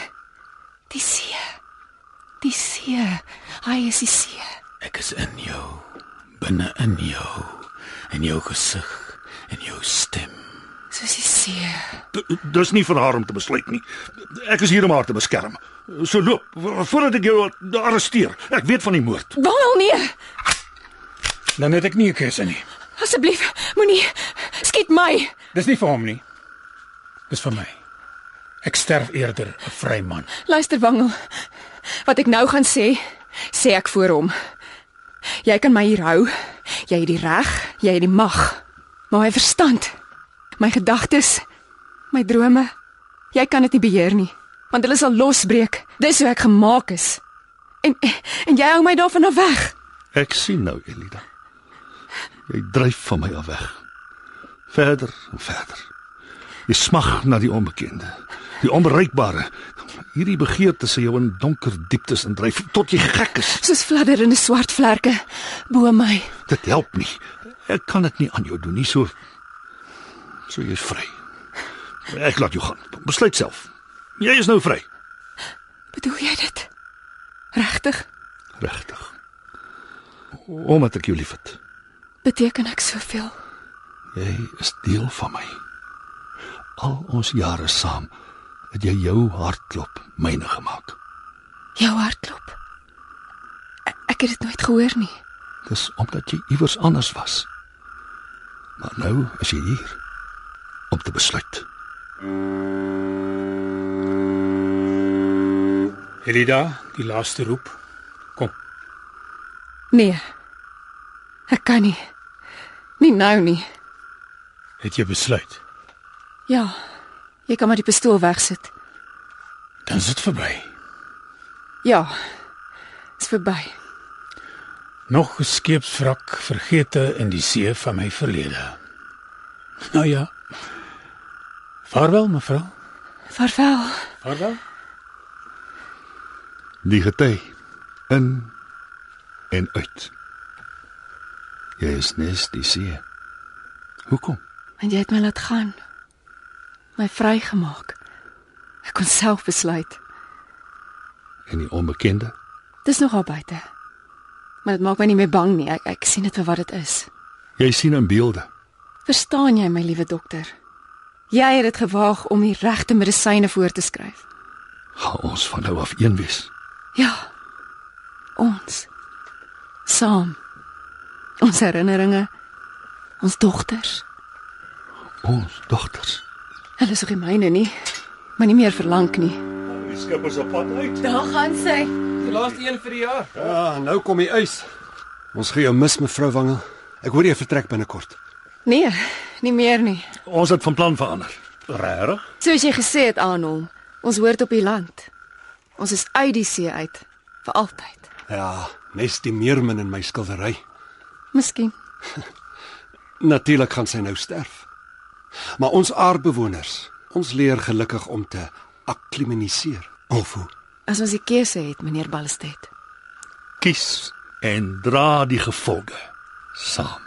Speaker 5: Die see. Die see. Hy is die see.
Speaker 9: Ek is in jou, binne in jou, in jou gesig, in jou stem.
Speaker 5: Soos die see.
Speaker 6: D- Dis nie vir haar om te besluit nie. Ek is hier om haar te beskerm. So loop vo- voordat ek jou arresteer. Ek weet van die moord.
Speaker 5: Waal nee.
Speaker 9: Dan het ek nie 'n keuse nie.
Speaker 5: Asseblief, moenie skiet my.
Speaker 9: Dis nie vir hom nie. Dis vir my. Ek sterf eerder 'n vry man.
Speaker 5: Luister Wangel. Wat ek nou gaan sê, sê ek voor hom. Jy kan my hier hou. Jy het die reg, jy het die mag. Maar my verstand, my gedagtes, my drome, jy kan dit nie beheer nie, want hulle sal losbreek. Dis hoe ek gemaak is. En en jy hou my daarvan af weg.
Speaker 6: Ek sien nou, Elida. Jy dryf van my af weg. Verder en verder. Jy smag na die onbekende, die onbereikbare. Hierdie begeerte se jou in donker dieptes indryf tot jy gek is.
Speaker 5: Soos fladderende swart vlerke bo my.
Speaker 6: Dit help nie. Ek kan dit nie aan jou doen nie. So so jy's vry. Ek laat jou gaan. Besluit self. Jy is nou vry.
Speaker 5: Bedoel jy dit? Regtig?
Speaker 6: Regtig. Omdat ek jou liefhet.
Speaker 5: Beteken ek soveel?
Speaker 6: Jy is deel van my. Al ons jare saam het jy jou hartklop myne gemaak.
Speaker 5: Jou hartklop. Ek, ek het dit nooit gehoor nie.
Speaker 6: Dis omdat jy iewers anders was. Maar nou is jy hier om te besluit.
Speaker 9: Elida, die laaste roep. Kom.
Speaker 5: Nee. Ek kan nie. Nie nou nie.
Speaker 9: Het jy besluit?
Speaker 5: Ja. Jy kan maar die pistool wegsit.
Speaker 9: Dan is dit verby.
Speaker 5: Ja. Is verby.
Speaker 9: Nog 'n skeepswrak vergete in die see van my verlede. Nou ja. Vaarwel mevrou.
Speaker 5: Vaarwel.
Speaker 9: Vaarwel.
Speaker 6: Die gety in en uit. Jy is nes die see. Hoekom?
Speaker 5: Want jy het my laat gaan. My vrygemaak. Ek kon self besluit.
Speaker 6: En die onbekende?
Speaker 5: Dis nog daar buite. Maar dit maak my nie meer bang nie. Ek, ek sien dit vir wat dit is.
Speaker 6: Jy sien in beelde.
Speaker 5: Verstaan jy my liewe dokter? Jy het dit gewaag om die regte medisyne voor te skryf.
Speaker 6: Gaan ons van nou af een wees.
Speaker 5: Ja. Ons saam. Ons herinneringe, ons dogters.
Speaker 6: Ons dogters.
Speaker 5: Hulle is nog nie myne nie, maar nie meer verlang nie.
Speaker 6: Die skip is op pad uit.
Speaker 5: Daar gaan sy.
Speaker 4: Die laaste een vir die jaar.
Speaker 3: Ja, nou kom die ys. Ons gaan jou mis mevrou Wangel. Ek hoor jy vertrek binnekort.
Speaker 5: Nee, nie meer nie.
Speaker 6: Ons het van plan verander. Regtig?
Speaker 5: Soos jy gesê het, Arnold, ons hoort op die land. Ons is uit die see uit vir altyd.
Speaker 3: Ja, nes die meermin in my skildery.
Speaker 5: Miskien.
Speaker 3: (laughs) Natuurlik gaan sy nou sterf. Maar ons aardbewoners, ons leer gelukkig om te akklimatiseer. Of hoe?
Speaker 5: As ons die keuse het, meneer Ballastet.
Speaker 6: Kies en dra die gevolge saam,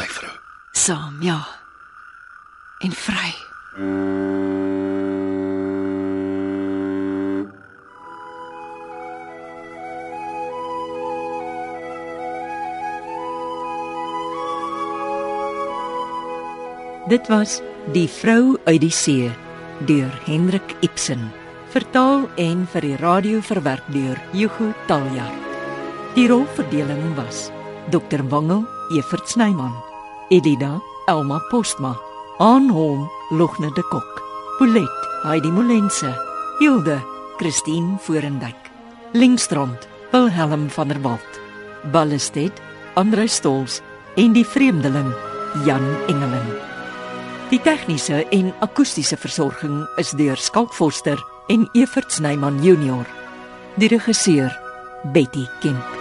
Speaker 6: my vrou.
Speaker 5: Saam, ja. En vry.
Speaker 1: Dit was Die vrou uit die see deur Hendrik Ibsen, vertaal en vir die radio verwerk deur Hugo Taljaard. Die rolverdeling was: Dr. Wangel, Evert Snyman, Elida, Elma Postma, Aanholm, Logne de Kok, Polet, Heidi Molense, Hilde, Christine Forendyk, Linkstrand, Wilhelm van der Walt, Ballestedt, Andre Stols en die vreemdeling Jan Engeling. Die tegniese en akoestiese versorging is deur Skalk Forster en Evert Snyman Junior. Die regisseur Betty Kemp.